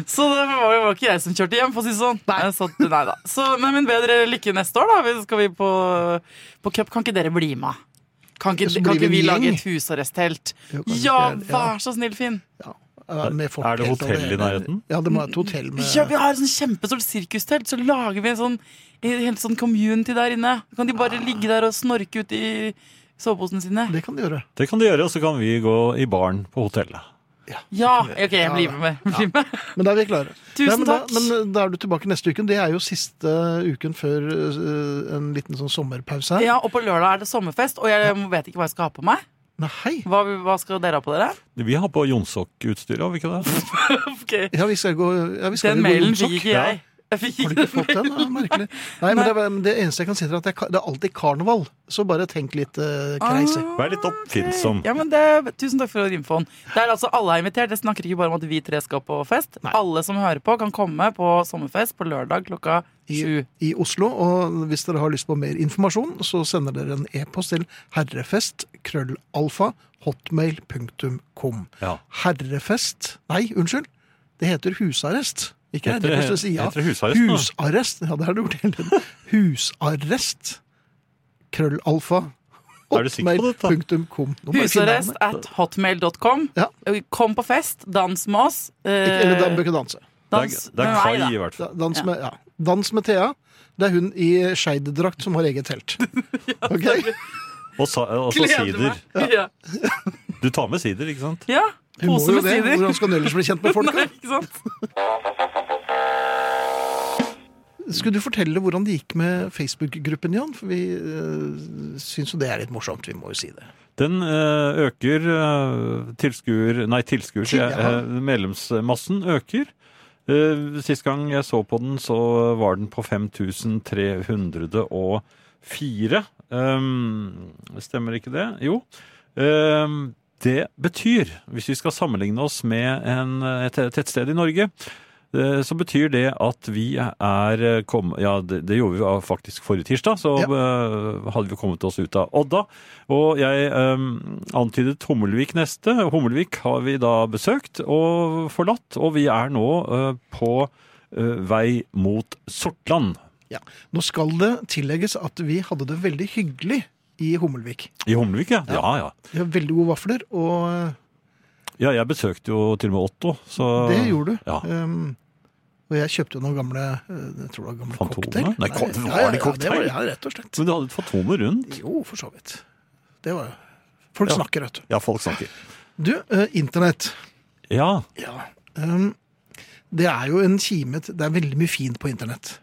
[SPEAKER 4] Så det var jo var ikke jeg som kjørte hjem, for å si det sånn. Nei. Så, nei da. Så, men, men bedre lykke neste år, da. Vi- Skal vi på, på cup? Kan ikke dere bli med? Kan ikke,
[SPEAKER 2] Så
[SPEAKER 4] kan
[SPEAKER 2] blir vi
[SPEAKER 4] ikke vi
[SPEAKER 2] en
[SPEAKER 4] lage
[SPEAKER 2] gjeng.
[SPEAKER 4] et husarresttelt?
[SPEAKER 2] Jo, kanskje
[SPEAKER 4] Ja,
[SPEAKER 2] ikke, ja.
[SPEAKER 4] vær så snill, Finn.
[SPEAKER 2] Ja, med folk
[SPEAKER 3] Er det
[SPEAKER 2] helt
[SPEAKER 3] hotell i
[SPEAKER 2] over-
[SPEAKER 3] nærheten?
[SPEAKER 2] Ja, det må være et hotell med
[SPEAKER 4] Ja, vi har et sånn kjempestort sirkustelt, så lager vi en sånn en helt sånn community der inne. Så kan de bare ligge der og snorke ut i soveposene sine.
[SPEAKER 2] Det kan de gjøre.
[SPEAKER 3] Det kan de gjøre, og så kan vi gå i baren på hotellet.
[SPEAKER 4] Ja, ok, jeg blir med. Blir med.
[SPEAKER 2] Men da er vi klare.
[SPEAKER 4] Tusen
[SPEAKER 2] Nei, men
[SPEAKER 4] takk.
[SPEAKER 2] Da, men eh, da er du tilbake neste uke. Det er jo siste uken før øh, en liten sånn sommerpause her.
[SPEAKER 4] (laughs) Ja, og på lørdag er det sommerfest, og jeg vet ikke hva jeg skal ha på meg.
[SPEAKER 2] Nei, hei!
[SPEAKER 4] Hva, hva skal dere ha på dere?
[SPEAKER 3] Vi har på Jonsok-utstyr, har vi ikke det?
[SPEAKER 4] (laughs) Ok,
[SPEAKER 2] Ja, vi skal gå, ja, vi skal
[SPEAKER 4] Den
[SPEAKER 2] gå
[SPEAKER 4] mailen
[SPEAKER 2] jonsokk.
[SPEAKER 4] fikk ikke jeg. jeg fikk
[SPEAKER 2] Har du
[SPEAKER 4] ikke
[SPEAKER 2] ikke fått den? Ja, merkelig. Nei, men det, er- men det eneste jeg kan si til deg er at det er, ka- det er alltid karneval. Så bare tenk litt uh, kreiser.
[SPEAKER 4] Ah,
[SPEAKER 3] Vær litt oppfinnsom.
[SPEAKER 4] Ja, men det, tusen takk for infoen. Det er altså Alle er invitert. Jeg snakker ikke bare om at vi tre skal på fest. Alle som hører på, kan komme på sommerfest på lørdag klokka
[SPEAKER 2] I,
[SPEAKER 4] sju.
[SPEAKER 2] I Oslo. Og hvis dere har lyst på mer informasjon, så sender dere en e-post til herrefest.krøllalfa.hotmail.com.
[SPEAKER 3] Ja.
[SPEAKER 2] Herrefest Nei, unnskyld. Det heter husarrest. Ikke
[SPEAKER 3] Heter det-
[SPEAKER 2] herrefest, det sier ja.
[SPEAKER 3] heter det husarrest nå?
[SPEAKER 2] Husarrest. Ja, det har du gjort hele tiden. Husarrest. Krøllalfa.
[SPEAKER 3] Er du sikker på dette?
[SPEAKER 2] Hotmail.com. Nå må jeg finne
[SPEAKER 4] Husarrest
[SPEAKER 2] navnet.
[SPEAKER 4] at hotmail.com.
[SPEAKER 2] Ja.
[SPEAKER 4] Eh, Kom på fest, dans med oss. Eh,
[SPEAKER 2] Ikke- Eller da bør ikke danse.
[SPEAKER 3] Det er,
[SPEAKER 4] dans
[SPEAKER 3] det er
[SPEAKER 4] med meg,
[SPEAKER 3] kai,
[SPEAKER 4] da.
[SPEAKER 3] i hvert fall.
[SPEAKER 2] Da- Dans
[SPEAKER 4] Ja.
[SPEAKER 2] med, ja. dans med Thea. Det er hun i skeidedrakt som har eget
[SPEAKER 3] (laughs)
[SPEAKER 2] telt. Ok?
[SPEAKER 3] Og, sa, og så sider.
[SPEAKER 4] meg. Ja.
[SPEAKER 3] Du tar med sider, ikke sant?
[SPEAKER 4] ja.
[SPEAKER 2] Hun må
[SPEAKER 4] Pose
[SPEAKER 2] jo
[SPEAKER 4] med
[SPEAKER 2] det.
[SPEAKER 4] sider.
[SPEAKER 2] Hvordan skal hun ellers bli kjent med
[SPEAKER 3] (laughs)
[SPEAKER 2] folk?
[SPEAKER 4] (laughs)
[SPEAKER 2] da?
[SPEAKER 4] Nei, ikke sant?
[SPEAKER 2] Skulle du fortelle hvordan det gikk med Facebook-gruppen, Jan? For vi øh, syns jo det er litt morsomt, vi må jo si det.
[SPEAKER 3] Den eh, øker eh, tilskuer... Nei, tilskuer, sier jeg.
[SPEAKER 2] Ja.
[SPEAKER 3] Eh, medlemsmassen øker. Eh, sist gang jeg så på den, så var den på 5304. Um, stemmer ikke det? Jo. Um, det betyr, hvis vi skal sammenligne oss med en, et tettsted i Norge, eh, så betyr det at vi er eh, kom, Ja, det, det gjorde vi av- faktisk forrige tirsdag. Så
[SPEAKER 2] Ja.
[SPEAKER 3] eh, hadde vi kommet oss ut av Odda. Og jeg em, antydet Hummelvik neste. Hummelvik har vi da besøkt og forlatt, og vi er nå eh, på eh, vei mot Sortland
[SPEAKER 2] Ja. Nå skal det tillegges at vi hadde det veldig hyggelig i Hummelvik.
[SPEAKER 3] i Hummelvik, ja. Ja, ja.
[SPEAKER 2] Vi har veldig gode vafler, og øh,
[SPEAKER 3] Ja, jeg besøkte jo til og med Otto, så
[SPEAKER 2] det gjorde du.
[SPEAKER 3] Ah, Ja.
[SPEAKER 2] Ehm, og jeg kjøpte jo noen gamle øh, jeg tror det var gamle
[SPEAKER 3] Fantomer?
[SPEAKER 2] cocktail.
[SPEAKER 3] Nei, ko- var
[SPEAKER 2] ja, ja, ja, det
[SPEAKER 3] det
[SPEAKER 2] var,
[SPEAKER 3] cocktail?
[SPEAKER 2] ja, rett og slett.
[SPEAKER 3] Men du hadde et fatone rundt?
[SPEAKER 2] Jo, for så vidt. Det var Folk
[SPEAKER 3] Ja.
[SPEAKER 2] snakker, vet du.
[SPEAKER 3] Ja, folk snakker.
[SPEAKER 2] Du, eh, internett.
[SPEAKER 3] Ja,
[SPEAKER 2] Um, det er jo en kime til Det er veldig mye fint på internett.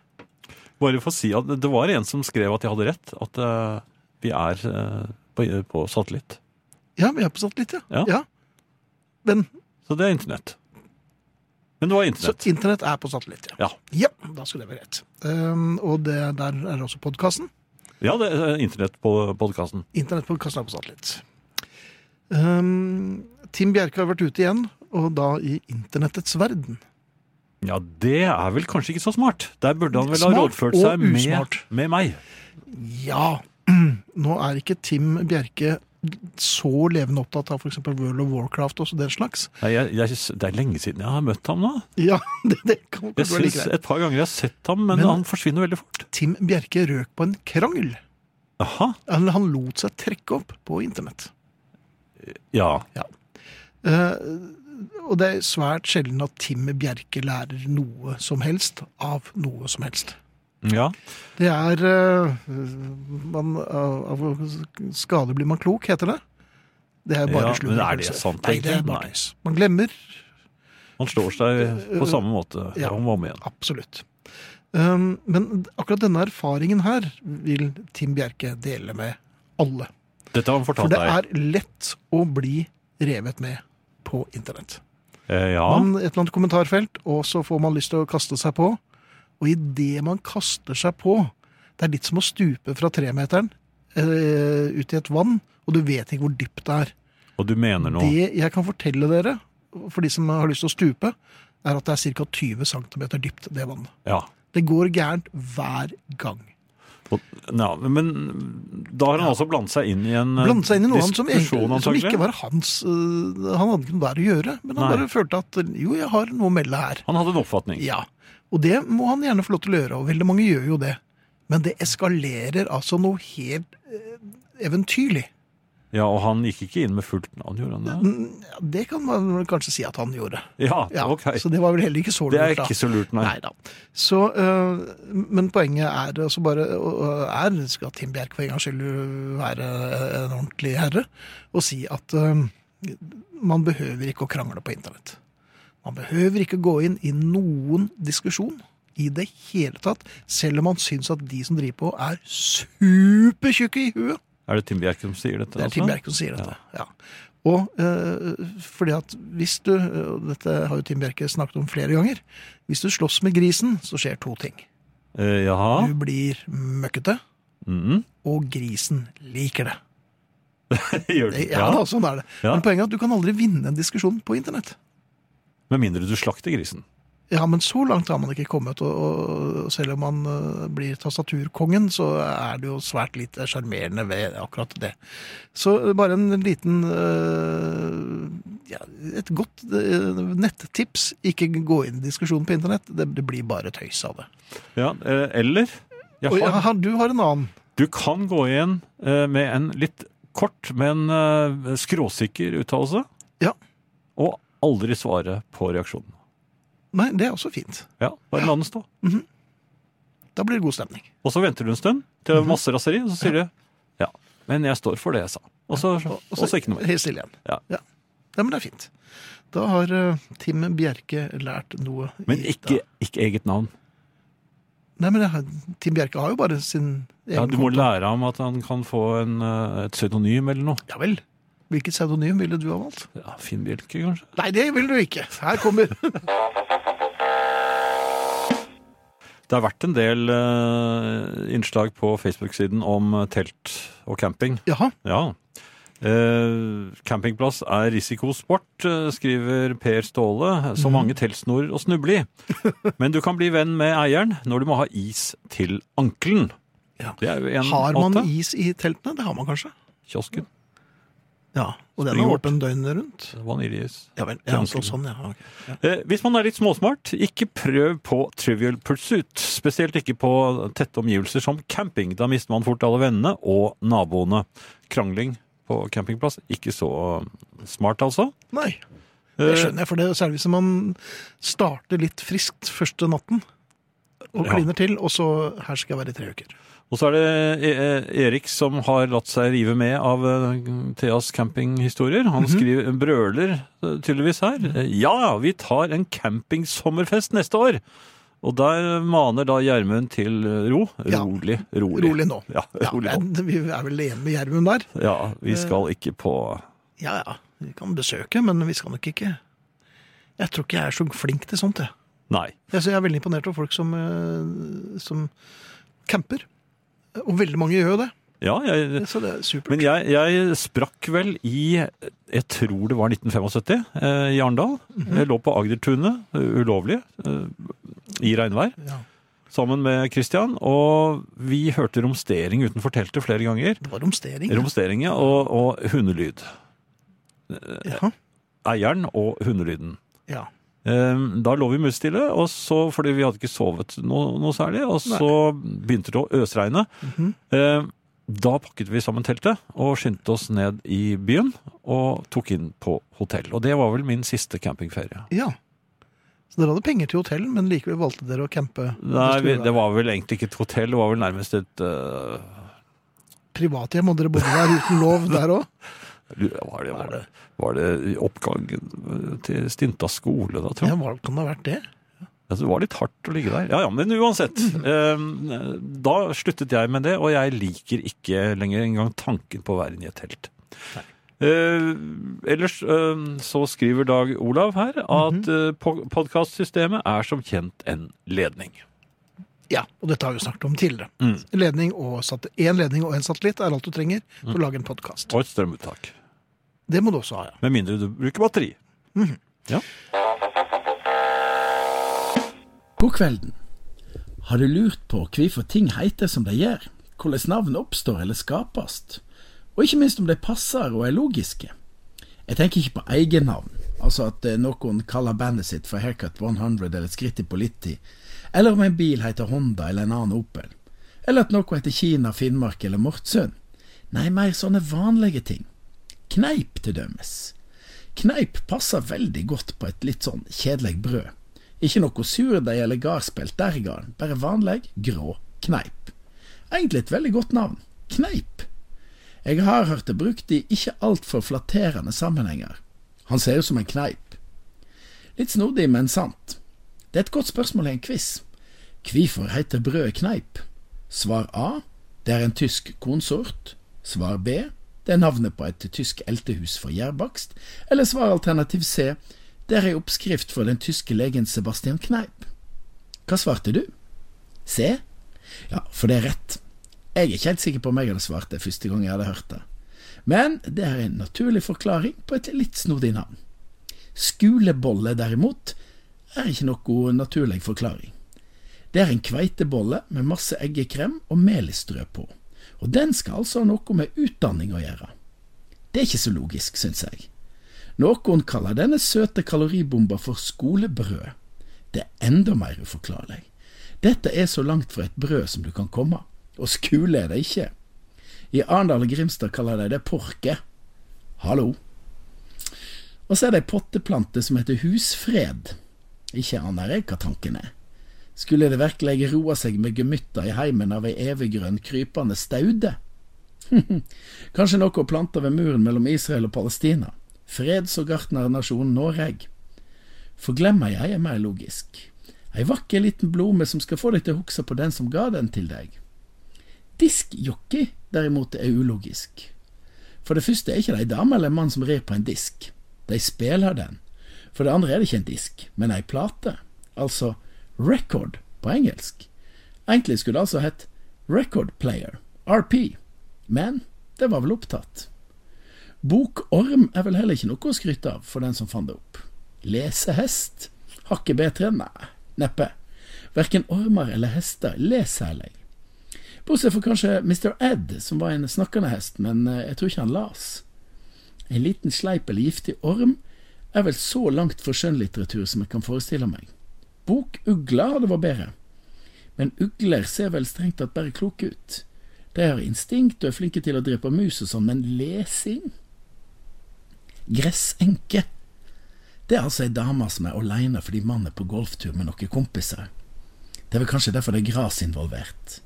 [SPEAKER 3] bare for å si at det var en som skrev at jeg hadde rett, at eh, vi er eh, på, på satellitt.
[SPEAKER 2] Ja, vi er på satellitt, ja.
[SPEAKER 3] Ja.
[SPEAKER 2] Men
[SPEAKER 3] Så det er internett. Men det var
[SPEAKER 2] så
[SPEAKER 3] internett.
[SPEAKER 2] internett er på satellitt, ja.
[SPEAKER 3] Ja,
[SPEAKER 2] Ja, da skulle det være rett. Um, og det, der er også podkasten.
[SPEAKER 3] ja det er internett på podkasten.
[SPEAKER 2] Internettpodkasten er på satellitt. Um, Tim Bjerke har vært ute igjen, og da i internettets verden.
[SPEAKER 3] Ja, det er vel kanskje ikke så smart. Der burde han vel ha
[SPEAKER 2] Smart
[SPEAKER 3] rådført
[SPEAKER 2] og
[SPEAKER 3] seg med,
[SPEAKER 2] usmart.
[SPEAKER 3] med meg.
[SPEAKER 2] Ja. (clears throat) Nå er ikke Tim Bjerke så levende opptatt av f.eks. World of Warcraft og den slags. (laughs)
[SPEAKER 3] Nei, jeg, jeg, synes- det er lenge siden jeg har møtt ham nå.
[SPEAKER 2] Ja, det, det kan kan
[SPEAKER 3] Jeg
[SPEAKER 2] være
[SPEAKER 3] synes
[SPEAKER 2] like greit.
[SPEAKER 3] Et par ganger jeg har sett ham, men,
[SPEAKER 2] Men-
[SPEAKER 3] han forsvinner veldig fort.
[SPEAKER 2] Tim Bjerke røk på en krangel.
[SPEAKER 3] Aha,
[SPEAKER 2] Han, han lot seg trekke opp på internett.
[SPEAKER 3] ja.
[SPEAKER 2] Eh, og det er svært sjelden at Tim Bjerke lærer noe som helst av noe som helst.
[SPEAKER 3] Ja,
[SPEAKER 2] Det er eh, man, Av av skade blir man klok, heter det. Det er bare
[SPEAKER 3] Ja,
[SPEAKER 2] sludder,
[SPEAKER 3] men er det
[SPEAKER 2] kanskje.
[SPEAKER 3] sant,
[SPEAKER 2] Nei, det er
[SPEAKER 3] egentlig?
[SPEAKER 2] bare
[SPEAKER 3] Nei.
[SPEAKER 2] tøys. Man glemmer
[SPEAKER 3] han slår seg på samme måte
[SPEAKER 2] Eh, Ja.
[SPEAKER 3] om og om igjen.
[SPEAKER 2] absolutt. Um, men akkurat denne erfaringen her vil Tim Bjerke dele med alle.
[SPEAKER 3] Dette har han
[SPEAKER 2] For
[SPEAKER 3] fortalt
[SPEAKER 2] det
[SPEAKER 3] deg.
[SPEAKER 2] er lett å bli revet med på internett.
[SPEAKER 3] Eh, ja.
[SPEAKER 2] Man, et eller annet kommentarfelt, og så får man lyst til å kaste seg på. Og idet man kaster seg på Det er litt som å stupe fra tremeteren eh, ut i et vann, og du vet ikke hvor dypt det er.
[SPEAKER 3] Og du mener noe.
[SPEAKER 2] Det jeg kan fortelle dere, for de som har lyst til å stupe, er at det er ca. 20 cm dypt, det vannet.
[SPEAKER 3] Ja.
[SPEAKER 2] Det går gærent hver gang.
[SPEAKER 3] Og, ja. Men da har han altså blandet seg inn i en eh,
[SPEAKER 2] Blandet seg inn i noe annet som,
[SPEAKER 3] diskusjon,
[SPEAKER 2] egentlig, som
[SPEAKER 3] antagelig.
[SPEAKER 2] ikke var hans øh, Han hadde ikke noe der å gjøre, men han
[SPEAKER 3] Nei.
[SPEAKER 2] bare følte at jo, jeg har noe å melde her.
[SPEAKER 3] Han hadde en oppfatning.
[SPEAKER 2] Ja. Og det må han gjerne få lov til å gjøre, og veldig mange gjør jo det. Men det eskalerer altså noe helt øh, eventyrlig.
[SPEAKER 3] Ja, og han gikk ikke inn med fullt navn, gjorde han det?
[SPEAKER 2] Mm, ja, Det kan man vel kanskje si at han gjorde.
[SPEAKER 3] Ja,
[SPEAKER 2] Ja,
[SPEAKER 3] ok.
[SPEAKER 2] Så det var vel heller ikke så
[SPEAKER 3] Det er
[SPEAKER 2] lurt, da.
[SPEAKER 3] ikke så lurt, nei.
[SPEAKER 2] Nei da. Så, øh, men poenget er altså bare øh, er, eh, Skal Tim Bjerk for en gangs skyld være en ordentlig herre og si at øh, man behøver ikke å krangle på internett. Man behøver ikke gå inn i noen diskusjon i det hele tatt, selv om man syns at de som driver på, er supertjukke i huet.
[SPEAKER 3] Er det Tim Bjerke som sier dette? altså?
[SPEAKER 2] Det er Tim Bjerke som sier dette. Ja. Og eh, fordi at hvis du, eh, og dette har jo Tim Bjerke snakket om flere ganger, hvis du slåss med grisen, så skjer to ting.
[SPEAKER 3] Eh, jaha.
[SPEAKER 2] Du blir møkkete,
[SPEAKER 3] Mhm.
[SPEAKER 2] og grisen liker det.
[SPEAKER 3] (laughs) Gjør
[SPEAKER 2] det
[SPEAKER 3] det.
[SPEAKER 2] ja, da, sånn er det.
[SPEAKER 3] Ja.
[SPEAKER 2] Men poenget er at du kan aldri vinne en diskusjon på internett.
[SPEAKER 3] Med mindre du slakter grisen.
[SPEAKER 2] Ja, men så langt har man ikke kommet, og, og selv om man eh, blir tastaturkongen, så er det jo svært lite sjarmerende ved akkurat det. Så bare en liten eh, ja, Et godt eh, nettips. Ikke gå inn i diskusjonen på internett. Det, det blir bare tøys av det.
[SPEAKER 3] Ja, eh, eller jeg
[SPEAKER 2] Og
[SPEAKER 3] har,
[SPEAKER 2] ja, du har en annen.
[SPEAKER 3] Du kan gå igjen eh, med en litt kort, men eh, skråsikker uttalelse.
[SPEAKER 2] Ja.
[SPEAKER 3] Og aldri svare på reaksjonen.
[SPEAKER 2] Nei, det er også fint.
[SPEAKER 3] Ja, Bare la den stå.
[SPEAKER 2] Da blir det god stemning.
[SPEAKER 3] Og så venter du en stund til det er masse raseri, og så sier du ja, men jeg står for det jeg sa. Og så, og så, ikke noe mer.
[SPEAKER 2] Helt stille igjen.
[SPEAKER 3] Ja.
[SPEAKER 2] Ja. ja, men det er fint. Da har eh, Tim Bjerke lært noe. i
[SPEAKER 3] Men
[SPEAKER 2] dag.
[SPEAKER 3] ikke, ikke eget navn.
[SPEAKER 2] Nei, men det, har- Tim Bjerke har jo bare sin egen
[SPEAKER 3] Ja, du må
[SPEAKER 2] konto.
[SPEAKER 3] lære ham at han kan få en, eh, et pseudonym eller noe.
[SPEAKER 2] Ja vel. Hvilket pseudonym ville du ha valgt?
[SPEAKER 3] Ja, Finn Bjelke, kanskje?
[SPEAKER 2] Nei, det vil du ikke. Her
[SPEAKER 3] (laughs)
[SPEAKER 2] kommer
[SPEAKER 3] Det har vært en del eh, innslag på Facebook-siden om eh, telt og camping.
[SPEAKER 2] Jaha.
[SPEAKER 3] Ja. Eh, campingplass er risikosport, eh, skriver Per Ståle.
[SPEAKER 2] Mhm.
[SPEAKER 3] Så mange teltsnorer å snuble i.
[SPEAKER 2] (laughs)
[SPEAKER 3] Men du kan bli venn med eieren når du må ha is til ankelen.
[SPEAKER 2] Ja.
[SPEAKER 3] Det er jo en
[SPEAKER 2] Har man
[SPEAKER 3] måte.
[SPEAKER 2] is i teltene? Det har man kanskje.
[SPEAKER 3] Kiosken.
[SPEAKER 2] Ja, Og den er
[SPEAKER 3] Springvort.
[SPEAKER 2] åpen døgnet rundt?
[SPEAKER 3] Vaniljeis.
[SPEAKER 2] Ja vel. Ja,
[SPEAKER 3] Kanskje.
[SPEAKER 2] så, sånn, ja. ok. ja.
[SPEAKER 3] Eh, Hvis man er litt småsmart, ikke prøv på trivial pursuit. Spesielt ikke på tette omgivelser som camping. Da mister man fort alle vennene og naboene. Krangling på campingplass, ikke så smart altså.
[SPEAKER 2] Nei, det
[SPEAKER 3] Eh,
[SPEAKER 2] skjønner jeg. For det er særlig hvis man starter litt friskt første natten. Og
[SPEAKER 3] Ja.
[SPEAKER 2] kliner til, og så Her skal jeg være i tre uker.
[SPEAKER 3] Og så er det E- E- Erik som har latt seg rive med av eh, Theas campinghistorier.
[SPEAKER 2] Mhm.
[SPEAKER 3] Han skriver, brøler eh, tydeligvis her. eh, Ja, vi tar en campingsommerfest neste år! Og der maner da Gjermund til eh, ro.
[SPEAKER 2] Ja.
[SPEAKER 3] Rolig, rolig.
[SPEAKER 2] Rolig nå.
[SPEAKER 3] Ja,
[SPEAKER 2] Ja,
[SPEAKER 3] (laughs)
[SPEAKER 2] Eh.
[SPEAKER 3] rolig nå.
[SPEAKER 2] men vi er vel enige med Gjermund der?
[SPEAKER 3] Ja, vi skal ikke på
[SPEAKER 2] Ja ja, vi kan besøke, men vi skal nok ikke Jeg tror ikke jeg er så flink til sånt, jeg.
[SPEAKER 3] Nei.
[SPEAKER 2] Jeg synes jeg er veldig imponert over folk som, eh, som camper. Og veldig mange gjør jo det.
[SPEAKER 3] Ja, jeg,
[SPEAKER 2] Så det er supert.
[SPEAKER 3] men jeg, jeg sprakk vel i Jeg tror det var 1975 eh, i Arendal.
[SPEAKER 2] Mhm.
[SPEAKER 3] Jeg lå på Agdertunet, eh, ulovlig, eh, i regnvær,
[SPEAKER 2] Ja,
[SPEAKER 3] sammen med Christian. Og vi hørte romstering utenfor teltet flere ganger.
[SPEAKER 2] det var romstering. ja.
[SPEAKER 3] Romstering ja, og, og hundelyd.
[SPEAKER 2] ja.
[SPEAKER 3] Eieren og hundelyden.
[SPEAKER 2] ja.
[SPEAKER 3] Eh, Da lå vi musstille, og så, fordi vi hadde ikke sovet noe, noe særlig. Og så begynte det å øsregne.
[SPEAKER 2] Mhm.
[SPEAKER 3] Eh, Da pakket vi sammen teltet og skyndte oss ned i byen og tok inn på hotell. Og det var vel min siste campingferie.
[SPEAKER 2] ja. Så dere hadde penger til hotell, men likevel valgte dere å campe?
[SPEAKER 3] Nei, vi,
[SPEAKER 2] skulle
[SPEAKER 3] det
[SPEAKER 2] være
[SPEAKER 3] var vel egentlig ikke et hotell, det var vel nærmest et eh,
[SPEAKER 2] Privathjem, og dere bodde der uten
[SPEAKER 3] (laughs)
[SPEAKER 2] lov der òg?
[SPEAKER 3] var, det, var, det, var det oppgangen til Stinta skole da, tror jeg?
[SPEAKER 2] Ja, hva kan det ha vært det?
[SPEAKER 3] Altså, det var litt hardt å ligge der. Ja, ja, men uansett. eh, Da sluttet jeg med det, og jeg liker ikke lenger engang tanken på å være inne i et telt. Eh, ellers eh, så skriver Dag Olav her at eh, po- podcastsystemet er som kjent en ledning.
[SPEAKER 2] Ja, og dette har vi jo snakket om tidligere.
[SPEAKER 3] Mm.
[SPEAKER 2] Ledning og sat- En ledning og en satellitt er alt du trenger for å
[SPEAKER 3] Mm.
[SPEAKER 2] lage en podkast.
[SPEAKER 3] Og et strømuttak.
[SPEAKER 2] Det må du også ha, ja.
[SPEAKER 3] Med mindre du bruker batteri.
[SPEAKER 5] God kvelden. Har du lurt på hvorfor ting heter som de gjør? Hvordan navn oppstår eller skapes? Og ikke minst om de passer og er logiske? Jeg tenker ikke på egennavn, altså at eh, noen kaller bandet sitt for Haircut 100 eller Skritt i Politti, eller om en bil heter Honda eller en annen Opel, eller at noe heter Kina, Finnmark eller Mortsund. Nei, mer sånne vanlige ting. Kneip, til dømes. Kneip passer veldig godt på et litt sånn kjedelig brød. Ikke noe surdeig eller gardspelt der i garden, bare vanlig, grå kneip. Egentlig et veldig godt navn. Kneip. Jeg har hørt det brukt i ikke altfor flatterende sammenhenger. Han ser ut som en kneip. Litt snodig, men sant. Det er et godt spørsmål i en quiz. Hvorfor heter brødet kneip? Svar A. Det er en tysk kornsort. Svar B. Det er navnet på et tysk eltehus for gjærbakst. Eller svar alternativ C. Det er ei oppskrift for den tyske legen Sebastian Kneip. Hva svarte du? C? Ja, for det er rett. Jeg er ikke helt sikker på om jeg hadde svart det første gang jeg hadde hørt det. Men det er en naturlig forklaring på et litt snodig navn. Skulebolle, derimot, er ikke noe naturlig forklaring. Det er en kveitebolle med masse eggekrem og melisstrø på, og den skal altså ha noe med utdanning å gjøre. Det er ikke så logisk, synes jeg. Noen kaller denne søte kaloribomba for skolebrød. Det er enda mer uforklarlig. Dette er så langt fra et brød som du kan komme, og skule er det ikke. I Arendal og Grimstad kaller de det porke. Hallo. Og så er det ei potteplante som heter husfred. Ikke aner jeg hva tanken er. Skulle det virkelig roe seg med gemytter i heimen av ei eviggrønn krypende staude? (laughs) Kanskje noe å plante ved muren mellom Israel og Palestina. Freds- og gartnernasjonen Noreg. For glemmer jeg er mer logisk. Ei vakker liten blome som skal få deg til å huske på den som ga den til deg. Diskjockey, derimot, er ulogisk. For det første er ikke det ei dame eller en mann som rir på en disk. De spiller den. For det andre er det ikke en disk, men ei plate. Altså record på engelsk. Egentlig skulle det altså hett record player, RP, men det var vel opptatt. Bokorm er vel heller ikke noe å skryte av for den som fant det opp. Lesehest? Hakket bedre? Nei, neppe. Verken ormer eller hester leser særlig. Bortsett fra kanskje Mr. Ed, som var en snakkende hest, men eh, jeg tror ikke han las. En liten sleip eller giftig orm er vel så langt for skjønnlitteratur som jeg kan forestille meg. Bokugla hadde vært bedre. Men ugler ser vel strengt tatt bare kloke ut. De har instinkt og er flinke til å drepe mus og sånn, men lesing? Gressenke. Det er altså ei dame som er aleine fordi mannen er på golftur med noen kompiser. Det er vel kanskje derfor det er gras involvert.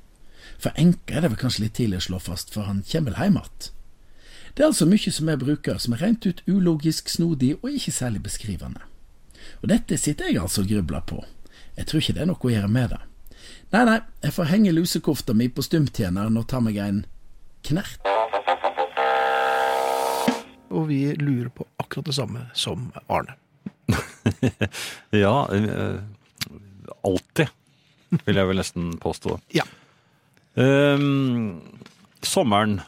[SPEAKER 5] For enke er det vel kanskje litt tidlig å slå fast, for han kommer vel hjem att. Det er altså mye som jeg bruker som er rent ut ulogisk, snodig og ikke særlig beskrivende. Og dette sitter jeg altså og grubler på. Jeg tror ikke det er noe å gjøre med det. Nei, nei, jeg får henge lusekofta mi på stumtjeneren og ta meg en knert.
[SPEAKER 2] Og vi lurer på akkurat det samme som Arne.
[SPEAKER 3] Ja, eh, alltid, vil jeg vel nesten påstå.
[SPEAKER 2] Ja.
[SPEAKER 3] Ehm, sommeren,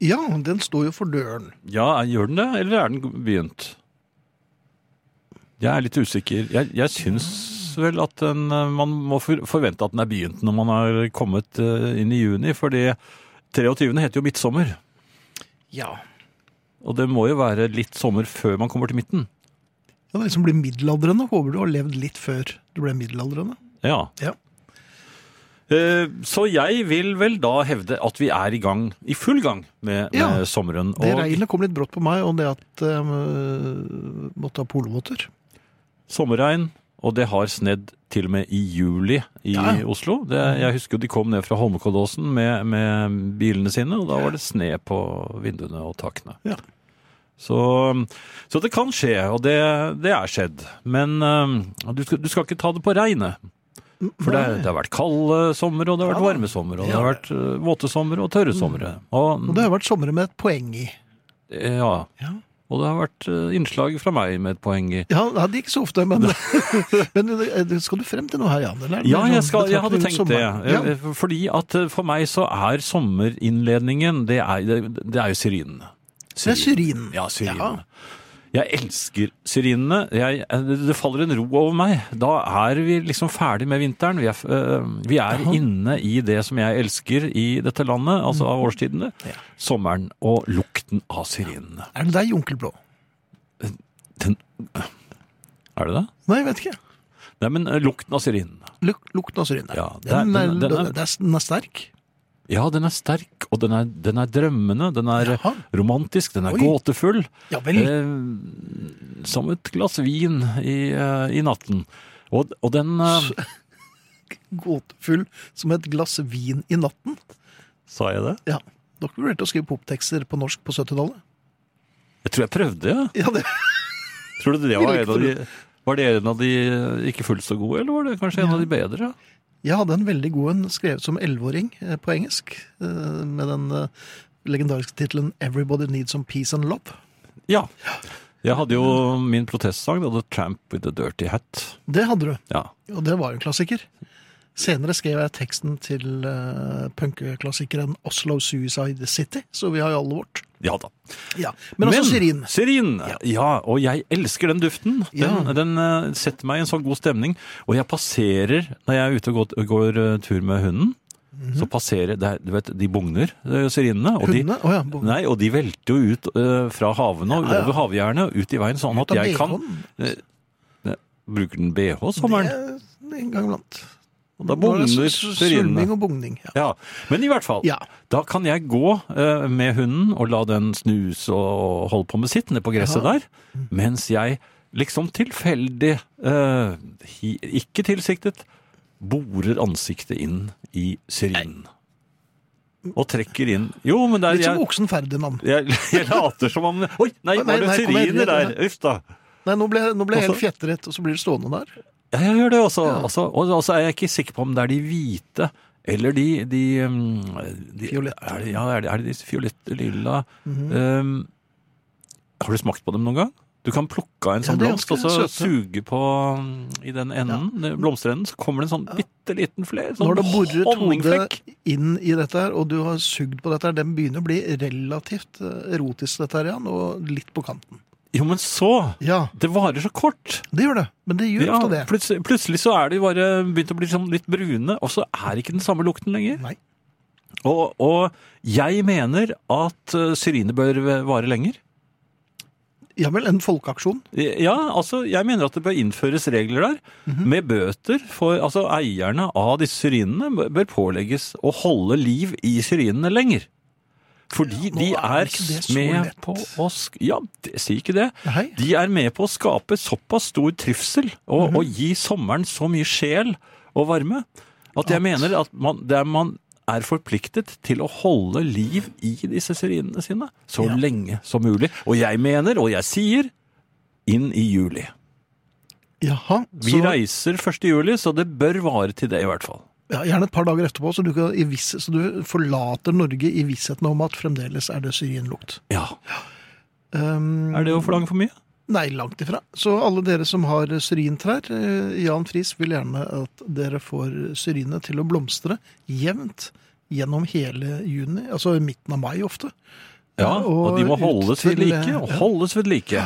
[SPEAKER 2] Ja, den står jo for døren.
[SPEAKER 3] ja, gjør den det, eller er den begynt? Jeg er litt usikker. Jeg, jeg syns vel at den, eh, man må for, forvente at den er begynt når man har kommet eh, inn i juni, fordi 23. heter jo midtsommer,
[SPEAKER 2] Ja.
[SPEAKER 3] og det må jo være litt sommer før man kommer til midten.
[SPEAKER 2] Det er liksom blir middelaldrende. Håper du har levd litt før du ble middelaldrende.
[SPEAKER 3] Ja.
[SPEAKER 2] Ja.
[SPEAKER 3] Eh, Så jeg vil vel da hevde at vi er i gang, i full gang med,
[SPEAKER 2] Ja.
[SPEAKER 3] med sommeren.
[SPEAKER 2] Det
[SPEAKER 3] Og
[SPEAKER 2] regnet kom litt brått på meg, og det at jeg måtte ha polovotter.
[SPEAKER 3] sommerregn, og det har snedd til og med i juli i
[SPEAKER 2] Ja.
[SPEAKER 3] Oslo. Det, jeg husker jo de kom ned fra Holmenkollåsen med, med bilene sine, og da var det sne på vinduene og takene.
[SPEAKER 2] Ja.
[SPEAKER 3] Så, så det kan skje, og det, det er skjedd. Men eh, du skal, du skal ikke ta det på regnet. Mm, For det, det har vært kalde sommer, og det har vært
[SPEAKER 2] Ja.
[SPEAKER 3] varme sommer, og det
[SPEAKER 2] Ja. Mm.
[SPEAKER 3] har vært eh, våte sommer og tørre somre. Og,
[SPEAKER 2] Og det har vært somre med et poeng i.
[SPEAKER 3] ja,
[SPEAKER 2] Ja,
[SPEAKER 3] og det har vært eh, innslag fra meg med et poeng i.
[SPEAKER 2] ja det er ikke så ofte,
[SPEAKER 3] (laughs)
[SPEAKER 2] men, (laughs) men eh, skal du frem til noe her, Jan? Eller? er det
[SPEAKER 3] Ja,
[SPEAKER 2] mer
[SPEAKER 3] jeg,
[SPEAKER 2] sånn
[SPEAKER 3] skal, jeg hadde
[SPEAKER 2] betraktning
[SPEAKER 3] tenkt
[SPEAKER 2] rundt
[SPEAKER 3] det.
[SPEAKER 2] sommeren?
[SPEAKER 3] Eh, Fordi at eh, for meg så er sommerinnledningen Det er, det, det er jo syrinene.
[SPEAKER 2] Ja, det er syrin.
[SPEAKER 3] Ja, syrinene. Jeg elsker syrinene. Jeg, eh, det det faller en ro over meg. Da er vi liksom ferdig med vinteren. Vi er, f- eh, vi er inne i det som jeg elsker i dette landet, altså av årstidene. Sommeren og lukten av syrinene.
[SPEAKER 2] Er det deg, Onkel Blå?
[SPEAKER 3] Den, er det det?
[SPEAKER 2] Nei, jeg vet ikke.
[SPEAKER 3] Nei, men eh, lukten av syrinene.
[SPEAKER 2] Luk, lukten av syrin. der.
[SPEAKER 3] Ja, det er-
[SPEAKER 2] den, er, den,
[SPEAKER 3] den- den er-
[SPEAKER 2] er, den er sterk.
[SPEAKER 3] Ja, den er sterk, og den er, den er drømmende, den er
[SPEAKER 2] Jaha.
[SPEAKER 3] romantisk, den er
[SPEAKER 2] Oi.
[SPEAKER 3] gåtefull.
[SPEAKER 2] Ja vel.
[SPEAKER 3] Eh, som et glass vin i, eh, i natten. Og, og den eh,
[SPEAKER 2] Gåtefull som et glass vin i natten.
[SPEAKER 3] Sa jeg det?
[SPEAKER 2] Ja. Dere vurderte å skrive poptekster på norsk på 70-tallet?
[SPEAKER 3] Jeg tror jeg prøvde, ja.
[SPEAKER 2] Ja, det
[SPEAKER 3] Tror du det
[SPEAKER 2] Ville
[SPEAKER 3] var en
[SPEAKER 2] ikke
[SPEAKER 3] av de Var det en av de eh, ikke fullt så gode, eller var det kanskje en
[SPEAKER 2] Ja.
[SPEAKER 3] av de bedre?
[SPEAKER 2] Jeg hadde en veldig god en skrevet som 11-åring eh, på engelsk, eh, med den eh, legendariske tittelen 'Everybody Needs Some Peace and Love'.
[SPEAKER 3] Ja. Jeg hadde jo min protestsang, da, 'The Tramp with the Dirty Hat'.
[SPEAKER 2] Det hadde du,
[SPEAKER 3] Ja.
[SPEAKER 2] og det var jo en klassiker. Senere skrev jeg teksten til eh, punkeklassikeren 'Oslo Suicide City', så vi har jo alle vårt.
[SPEAKER 3] ja da.
[SPEAKER 2] Ja. Men også Sirin.
[SPEAKER 3] Sirin! Ja. og jeg elsker den duften. Den,
[SPEAKER 2] Ja.
[SPEAKER 3] den eh, setter meg i en sånn god stemning. Og jeg passerer, når jeg er ute og går, går eh, tur med hunden, så passerer det er- Du vet, de bugner, eh, sirinene. Og de,
[SPEAKER 2] Mhm. Hundene? Å ja. bo-
[SPEAKER 3] Nei, og de velter jo ut eh, fra havene og
[SPEAKER 2] Ja, ja.
[SPEAKER 3] over havgjerdet og ut i veien, sånn at
[SPEAKER 2] Ut av
[SPEAKER 3] jeg kan
[SPEAKER 2] BH-en.
[SPEAKER 3] Bruker den BH
[SPEAKER 2] Det
[SPEAKER 3] sommeren?
[SPEAKER 2] er en gang iblant.
[SPEAKER 3] Og da
[SPEAKER 2] Nå er
[SPEAKER 3] bugner
[SPEAKER 2] det s- s- Svulming
[SPEAKER 3] syrinene.
[SPEAKER 2] og bugning. Ja.
[SPEAKER 3] Ja, Men i hvert fall,
[SPEAKER 2] Ja.
[SPEAKER 3] da kan jeg gå eh, med hunden og la den snuse og holde på med sitt nede på gresset
[SPEAKER 2] Ja.
[SPEAKER 3] der, mens jeg liksom tilfeldig, eh, hi, ikke tilsiktet, borer ansiktet inn i syrinen. Og trekker inn Jo, men der
[SPEAKER 2] Litt som
[SPEAKER 3] jeg,
[SPEAKER 2] oksen Ferdinand.
[SPEAKER 3] jeg, jeg later som om Oi,
[SPEAKER 2] Oi, nei,
[SPEAKER 3] nei, var det
[SPEAKER 2] nei, kom her,
[SPEAKER 3] syriner
[SPEAKER 2] kom
[SPEAKER 3] der?
[SPEAKER 2] her.
[SPEAKER 3] Uff da.
[SPEAKER 2] Nei, nå ble, nå ble jeg helt
[SPEAKER 3] Også-
[SPEAKER 2] fjetret, og så blir det stående der.
[SPEAKER 3] Ja, jeg gjør det også. også og og så er jeg ikke sikker på om det er de hvite eller de, de, um, de
[SPEAKER 2] Fiolette.
[SPEAKER 3] Er det, ja, er det, er det de fiolette, lilla
[SPEAKER 2] Mhm.
[SPEAKER 3] um, Har du smakt på dem noen gang? Du kan plukke av en
[SPEAKER 2] Ja,
[SPEAKER 3] sånn
[SPEAKER 2] de er
[SPEAKER 3] blomst og
[SPEAKER 2] ganske
[SPEAKER 3] så
[SPEAKER 2] søte.
[SPEAKER 3] suge på um, i den enden, den blomsterenden, så kommer det en sånn bitte liten fler,
[SPEAKER 2] Når
[SPEAKER 3] sånn
[SPEAKER 2] det borer et hode
[SPEAKER 3] honningflekk.
[SPEAKER 2] inn i dette her, og du har sugd på dette her, den begynner å bli relativt eh, erotisk, dette her, Jan, og litt på kanten.
[SPEAKER 3] Jo, men så
[SPEAKER 2] Ja,
[SPEAKER 3] Det varer så kort.
[SPEAKER 2] det gjør det. Men det gjør
[SPEAKER 3] Ja,
[SPEAKER 2] ofte det.
[SPEAKER 3] plutselig, plutselig så er de bare begynt å bli sånn litt brune, og så er ikke den samme lukten lenger.
[SPEAKER 2] Nei.
[SPEAKER 3] Og, og jeg mener at eh, syrine bør vare lenger.
[SPEAKER 2] Ja vel, en folkeaksjon.
[SPEAKER 3] Ja, altså, jeg mener at det bør innføres regler der,
[SPEAKER 2] Mhm.
[SPEAKER 3] med bøter for altså, eierne av disse syrinene bør- bør pålegges å holde liv i syrinene lenger. Fordi
[SPEAKER 2] nå
[SPEAKER 3] de
[SPEAKER 2] er
[SPEAKER 3] er,
[SPEAKER 2] ikke det så
[SPEAKER 3] med
[SPEAKER 2] lett.
[SPEAKER 3] på å sk Ja, det, si ikke det.
[SPEAKER 2] Nei.
[SPEAKER 3] De er med på å skape såpass stor trivsel og, og gi sommeren så mye sjel og varme at jeg mener at man, det er, man er forpliktet til å holde liv i disse syrinene sine så
[SPEAKER 2] Ja.
[SPEAKER 3] lenge som mulig. Og jeg mener, og jeg sier, inn i juli.
[SPEAKER 2] Jaha.
[SPEAKER 3] Vi
[SPEAKER 2] så,
[SPEAKER 3] reiser 1. juli, så det bør vare til det i hvert fall.
[SPEAKER 2] ja, gjerne et par dager etterpå, så du, kan, i viss, så du forlater Norge i vissheten om at fremdeles er det syrinlukt.
[SPEAKER 3] Ja.
[SPEAKER 2] Um,
[SPEAKER 3] Er det å forlange for mye?
[SPEAKER 2] Nei, langt ifra. Så alle dere som har syrintrær, eh, Jan Friis vil gjerne at dere får syrinene til å blomstre jevnt gjennom hele juni, altså midten av mai ofte.
[SPEAKER 3] Ja, og, eh, de må holdes ved like. og Holdes ved like.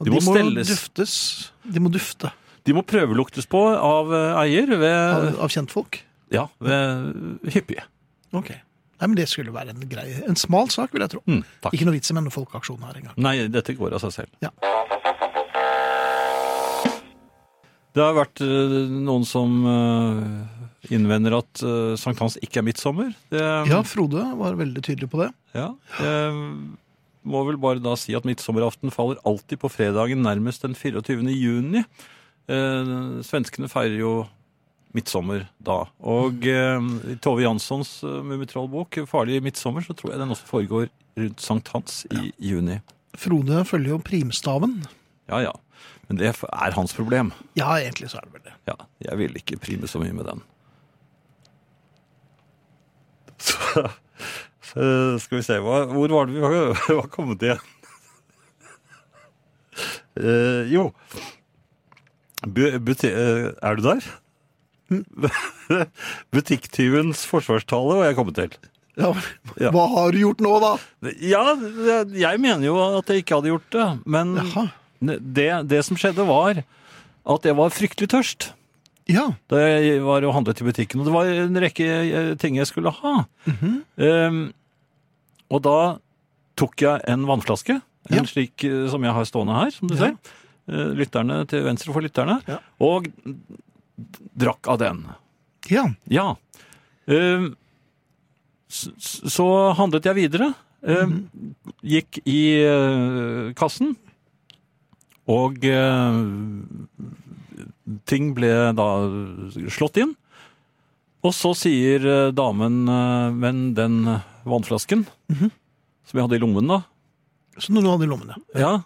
[SPEAKER 2] og
[SPEAKER 3] de må stelles.
[SPEAKER 2] duftes. De må dufte
[SPEAKER 3] De må prøveluktes på av eh, eier
[SPEAKER 2] av,
[SPEAKER 3] ved,
[SPEAKER 2] av kjentfolk.
[SPEAKER 3] ja, ved hyppige.
[SPEAKER 2] Ok. Nei, men det skulle være en grei, en smal sak, vil jeg tro.
[SPEAKER 3] Mm, takk.
[SPEAKER 2] Ikke noe vits i med noen folkeaksjon her engang.
[SPEAKER 3] Nei, dette går av seg selv.
[SPEAKER 2] Ja.
[SPEAKER 3] Det har vært eh, noen som eh, innvender at eh, sankthans ikke er midtsommer. Det,
[SPEAKER 2] Ja, Frode var veldig tydelig på det.
[SPEAKER 3] ja, jeg må vel bare da si at midtsommeraften faller alltid på fredagen nærmest den 24. juni. Eh, svenskene feirer jo midtsommer da. Og eh, i Tove Janssons eh, Mummitrollbok, 'Farlig midtsommer', så tror jeg den også foregår rundt sankthans i juni.
[SPEAKER 2] Frode følger jo primstaven.
[SPEAKER 3] Ja, ja. Men det er hans problem.
[SPEAKER 2] Ja, egentlig så er det vel det.
[SPEAKER 3] Ja, jeg vil ikke prime så mye med den. (laughs) Så, så skal vi se hva, Hvor var det vi var, (laughs) var kommet igjen? Eh, jo Bu- buti- eh, Er du der? (laughs) Butikktyvens forsvarstale var jeg kommet til.
[SPEAKER 2] Ja,
[SPEAKER 3] Ja.
[SPEAKER 2] Hva har du gjort nå, da?
[SPEAKER 3] Ja, det- jeg mener jo at jeg ikke hadde gjort det. Men
[SPEAKER 2] Jaha.
[SPEAKER 3] det, det som skjedde, var at jeg var fryktelig tørst.
[SPEAKER 2] Ja.
[SPEAKER 3] da jeg var og handlet i butikken. Og det var en rekke eh, ting jeg skulle ha.
[SPEAKER 2] Mhm.
[SPEAKER 3] Ehm, og da tok jeg en vannflaske, en
[SPEAKER 2] Ja.
[SPEAKER 3] slik eh, som jeg har stående her, som du
[SPEAKER 2] Ja.
[SPEAKER 3] ser. Eh, lytterne til venstre for lytterne.
[SPEAKER 2] Ja.
[SPEAKER 3] Og d- drakk av den.
[SPEAKER 2] Ja.
[SPEAKER 3] Ja. Ehm, s- s- så handlet jeg videre. Ehm, Gikk i eh, kassen. Og eh, ting ble da slått inn. Og så sier eh, damen, eh, men den eh, vannflasken som jeg hadde i lommen da,
[SPEAKER 2] Så når du hadde i lommene.
[SPEAKER 3] ja,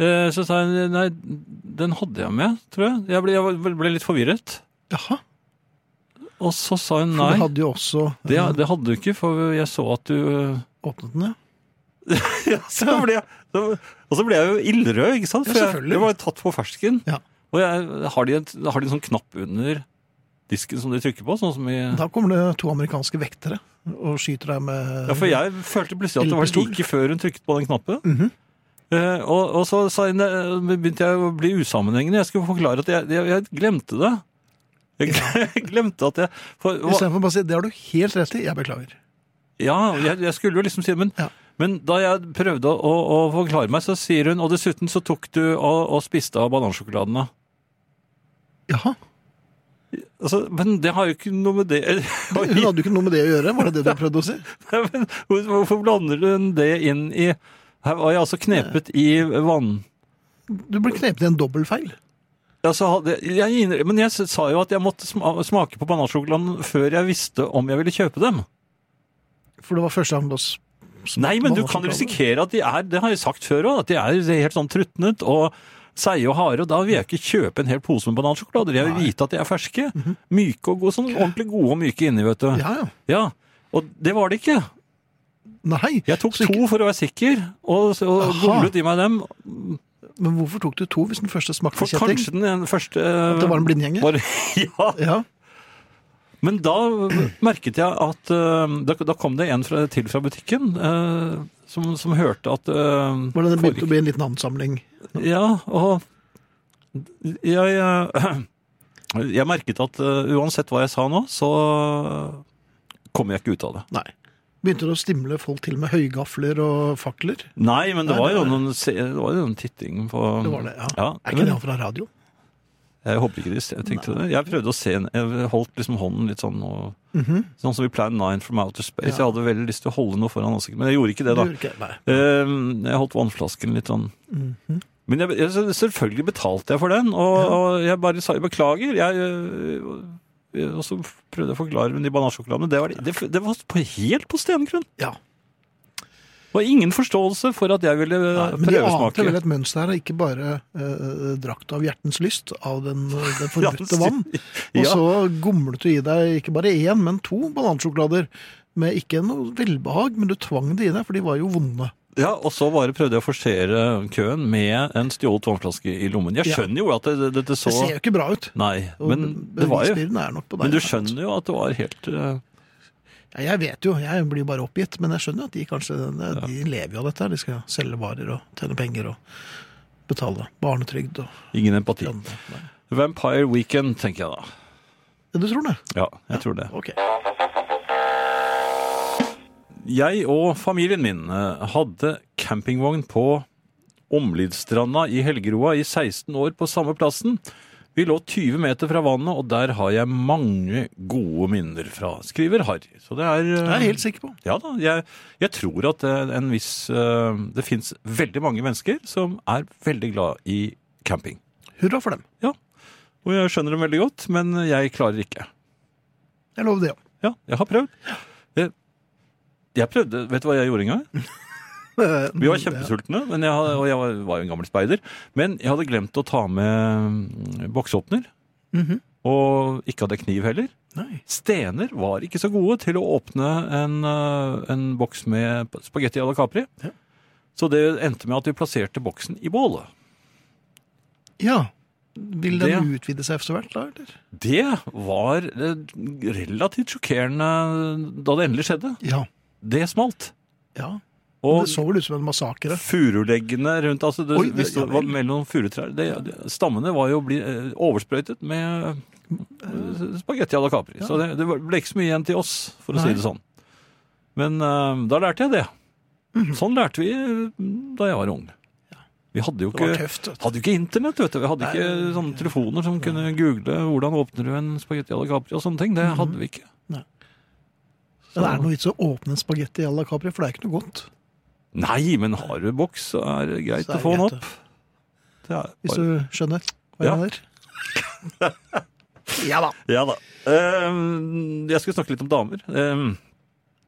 [SPEAKER 3] eh, så sa jeg, nei, den hadde jeg med, tror jeg. Jeg ble, jeg var- ble litt forvirret.
[SPEAKER 2] Jaha,
[SPEAKER 3] Og så sa hun
[SPEAKER 2] for
[SPEAKER 3] nei,
[SPEAKER 2] du hadde jo også eh,
[SPEAKER 3] det, det hadde du ikke, for jeg så at du... eh,
[SPEAKER 2] åpnet den, ja.
[SPEAKER 3] Ja, så ble jeg, så, og så ble jeg jo ildrød, ikke sant?
[SPEAKER 2] Ja,
[SPEAKER 3] For jeg,
[SPEAKER 2] selvfølgelig.
[SPEAKER 3] jeg var jo tatt på fersken.
[SPEAKER 2] Ja.
[SPEAKER 3] Og jeg, har, de en, har de en sånn knapp under disken som de trykker på? Sånn som i,
[SPEAKER 2] Da kommer det to amerikanske vektere og skyter deg med
[SPEAKER 3] ja, for jeg følte plutselig at det var
[SPEAKER 2] Ildpistol.
[SPEAKER 3] like før hun trykket på den knappen.
[SPEAKER 2] Mhm.
[SPEAKER 3] Eh, og, og så sa jeg, ne- begynte jeg å bli usammenhengende. Jeg skulle forklare at jeg, jeg, jeg glemte det. Jeg (laughs) glemte at jeg for,
[SPEAKER 2] Istedenfor bare å si 'det har du helt rett i', jeg beklager.
[SPEAKER 3] Ja, jeg, jeg skulle jo liksom si men,
[SPEAKER 2] Ja.
[SPEAKER 3] men da jeg prøvde å, å forklare meg, så sier hun Og dessuten så tok du og, og spiste av banansjokoladene.
[SPEAKER 2] Jaha.
[SPEAKER 3] Altså, men det har jo ikke noe med det
[SPEAKER 2] (laughs) Hun hadde jo ikke noe med det å gjøre, var det det du prøvde å si?
[SPEAKER 3] (laughs) men, hvor- Hvorfor blander hun det inn i Her var jeg altså knepet i vann...
[SPEAKER 2] Du ble knepet i en dobbeltfeil.
[SPEAKER 3] Altså, hadde, jeg, innrø- men jeg s- sa jo at jeg måtte sma- smake på banansjokoladen før jeg visste om jeg ville kjøpe dem.
[SPEAKER 2] For det var første gang du s-
[SPEAKER 3] Nei, men du kan
[SPEAKER 2] banansjokolade.
[SPEAKER 3] risikere at de er Det har jeg sagt før òg, at de er helt sånn trutnet og seige og harde. Og da vil jeg ikke kjøpe en hel pose med banansjokolader. Jeg vil vite at de er ferske. Myke og gode. Sånn ordentlig gode og myke inni, vet du. Ja.
[SPEAKER 2] Mhm. Ja, ja.
[SPEAKER 3] Og det var det ikke.
[SPEAKER 2] Nei.
[SPEAKER 3] Jeg tok
[SPEAKER 2] Så ikke-
[SPEAKER 3] to for å være sikker, og, så- og
[SPEAKER 2] Aha.
[SPEAKER 3] gomlet i meg dem.
[SPEAKER 2] Men hvorfor tok du to hvis den første smakte
[SPEAKER 3] For
[SPEAKER 2] kjetting?
[SPEAKER 3] kanskje den ene første
[SPEAKER 2] At det var en blindgjenger?
[SPEAKER 3] var- (laughs) Ja.
[SPEAKER 2] Ja.
[SPEAKER 3] Men da merket jeg at eh, da, da kom det en fra, til fra butikken eh, som, som hørte at eh,
[SPEAKER 2] Var det det
[SPEAKER 3] forrige-
[SPEAKER 2] begynte å bli en liten ansamling?
[SPEAKER 3] Ja, og jeg, eh, jeg merket at eh, uansett hva jeg sa nå, så kom jeg ikke ut av det.
[SPEAKER 2] Nei. Begynte det å stimle folk til med høygafler og fakler?
[SPEAKER 3] Nei, men det
[SPEAKER 2] Nei,
[SPEAKER 3] var jo
[SPEAKER 2] det var-
[SPEAKER 3] noen, se- det var jo noen titting på
[SPEAKER 2] Det var det, ja.
[SPEAKER 3] Mm. Ja,
[SPEAKER 2] Er ikke
[SPEAKER 3] men
[SPEAKER 2] det han fra radio?
[SPEAKER 3] jeg håper ikke de se- jeg tenkte det. Jeg prøvde å se en- Jeg holdt liksom hånden litt sånn og,
[SPEAKER 2] Mhm.
[SPEAKER 3] Sånn som i Plan 9 from Outer Space. Jeg hadde veldig lyst til å holde noe foran ansiktet, men jeg gjorde ikke
[SPEAKER 2] Du
[SPEAKER 3] det, da.
[SPEAKER 2] gjør ikke det? Nei.
[SPEAKER 3] Eh, Jeg holdt vannflasken litt sånn.
[SPEAKER 2] Mhm.
[SPEAKER 3] Men jeg, jeg, selvfølgelig betalte jeg for den, og, og jeg bare sa beklager. Jeg, eh, og så prøvde jeg å forklare med de banansjokoladene. Det var, det, det var på, helt på stengrunn.
[SPEAKER 2] Ja.
[SPEAKER 3] Det var ingen forståelse for at jeg ville eh,
[SPEAKER 2] Men de ante
[SPEAKER 3] prøvesmake.
[SPEAKER 2] vel et mønster her, ikke bare eh, drakt av hjertens lyst av den, eh,
[SPEAKER 3] (laughs)
[SPEAKER 2] den
[SPEAKER 3] Ja,
[SPEAKER 2] forbudte vann. Og
[SPEAKER 3] Ja.
[SPEAKER 2] så gomlet du i deg ikke bare én, men to banansjokolader. Med ikke noe velbehag, men du tvang det i deg, for de var jo vonde.
[SPEAKER 3] Ja, og så bare prøvde jeg å forsere køen med en stjålet vannflaske i lommen. Jeg
[SPEAKER 2] Ja.
[SPEAKER 3] skjønner jo at det, det, det så
[SPEAKER 2] Det ser jo ikke bra ut.
[SPEAKER 3] Nei,
[SPEAKER 2] Og
[SPEAKER 3] men det var jo
[SPEAKER 2] bevisbyrden er nok på deg,
[SPEAKER 3] Men du
[SPEAKER 2] ja.
[SPEAKER 3] skjønner jo at det var helt eh,
[SPEAKER 2] Ja, jeg vet jo, jeg blir jo bare oppgitt, men jeg skjønner at de kanskje de, de lever jo av dette. her. De skal selge varer og tjene penger og betale barnetrygd og
[SPEAKER 3] ingen empati.
[SPEAKER 2] lønne. Nei.
[SPEAKER 3] Vampire Weekend, tenker jeg da.
[SPEAKER 2] Ja, Du tror det?
[SPEAKER 3] Ja, jeg tror det.
[SPEAKER 2] Ok.
[SPEAKER 3] Jeg og familien min eh, hadde campingvogn på Omlidstranda i Helgeroa i 16 år på samme plassen. Vi lå 20 meter fra vannet, og der har jeg mange gode minner fra, skriver Harry. Så det er, eh,
[SPEAKER 2] Det er jeg helt sikker på.
[SPEAKER 3] Ja da, jeg, jeg tror at eh, en viss, eh, det finnes veldig mange mennesker som er veldig glad i camping.
[SPEAKER 2] Hurra for dem.
[SPEAKER 3] Og jeg skjønner dem veldig godt, men jeg klarer ikke.
[SPEAKER 2] Jeg lover det òg.
[SPEAKER 3] Ja, jeg har prøvd. Jeg, jeg prøvde, vet du hva jeg gjorde en gang?
[SPEAKER 2] (laughs)
[SPEAKER 3] Vi var kjempesultne, men jeg, hadde- og jeg var, var jo en gammel speider. Men jeg hadde glemt å ta med mm, boksåpner.
[SPEAKER 2] Mhm.
[SPEAKER 3] Og ikke hadde kniv heller.
[SPEAKER 2] Nei.
[SPEAKER 3] Stener var ikke så gode til å åpne en, eh, en boks med spagetti à la Capri.
[SPEAKER 2] Ja.
[SPEAKER 3] Så det endte med at vi plasserte boksen i bålet.
[SPEAKER 2] Ja. Vil
[SPEAKER 3] Det-
[SPEAKER 2] den utvide seg etter hvert, da? eller?
[SPEAKER 3] Det var eh, relativt sjokkerende da det endelig skjedde.
[SPEAKER 2] Ja.
[SPEAKER 3] Det smalt.
[SPEAKER 2] ja.
[SPEAKER 3] Og
[SPEAKER 2] det så vel ut som en massakre.
[SPEAKER 3] Furuleggene rundt altså det,
[SPEAKER 2] Oi,
[SPEAKER 3] Hvis det
[SPEAKER 2] ja vel.
[SPEAKER 3] var mellom furutrær det, det, Stammene var jo bli, eh, oversprøytet med eh, spagetti à la Capri. Så det, det ble ikke så mye igjen til oss, for å
[SPEAKER 2] Nei.
[SPEAKER 3] si det sånn. Men eh, da lærte jeg det.
[SPEAKER 2] Mhm.
[SPEAKER 3] Sånn lærte vi eh, da jeg var ung. Vi hadde jo
[SPEAKER 2] Det var
[SPEAKER 3] ikke,
[SPEAKER 2] tøft. vet du.
[SPEAKER 3] hadde jo ikke internett, vet du. Vi hadde ikke sånne telefoner som kunne google 'hvordan åpner du en spagetti à la Capri' og sånne ting.
[SPEAKER 2] Mhm.
[SPEAKER 3] Det hadde vi ikke.
[SPEAKER 2] Men Det er noe vits i å åpne en spagetti à la Capri, for det er ikke noe godt.
[SPEAKER 3] Nei, men har du boks, så er det greit
[SPEAKER 2] Så er
[SPEAKER 3] å få den
[SPEAKER 2] det greit,
[SPEAKER 3] opp. Det er
[SPEAKER 2] Hvis
[SPEAKER 3] bare-
[SPEAKER 2] du skjønner hva jeg
[SPEAKER 3] Ja.
[SPEAKER 2] mener. Ja da.
[SPEAKER 3] Ja da. Ehm, jeg skulle snakke litt om damer. Ehm,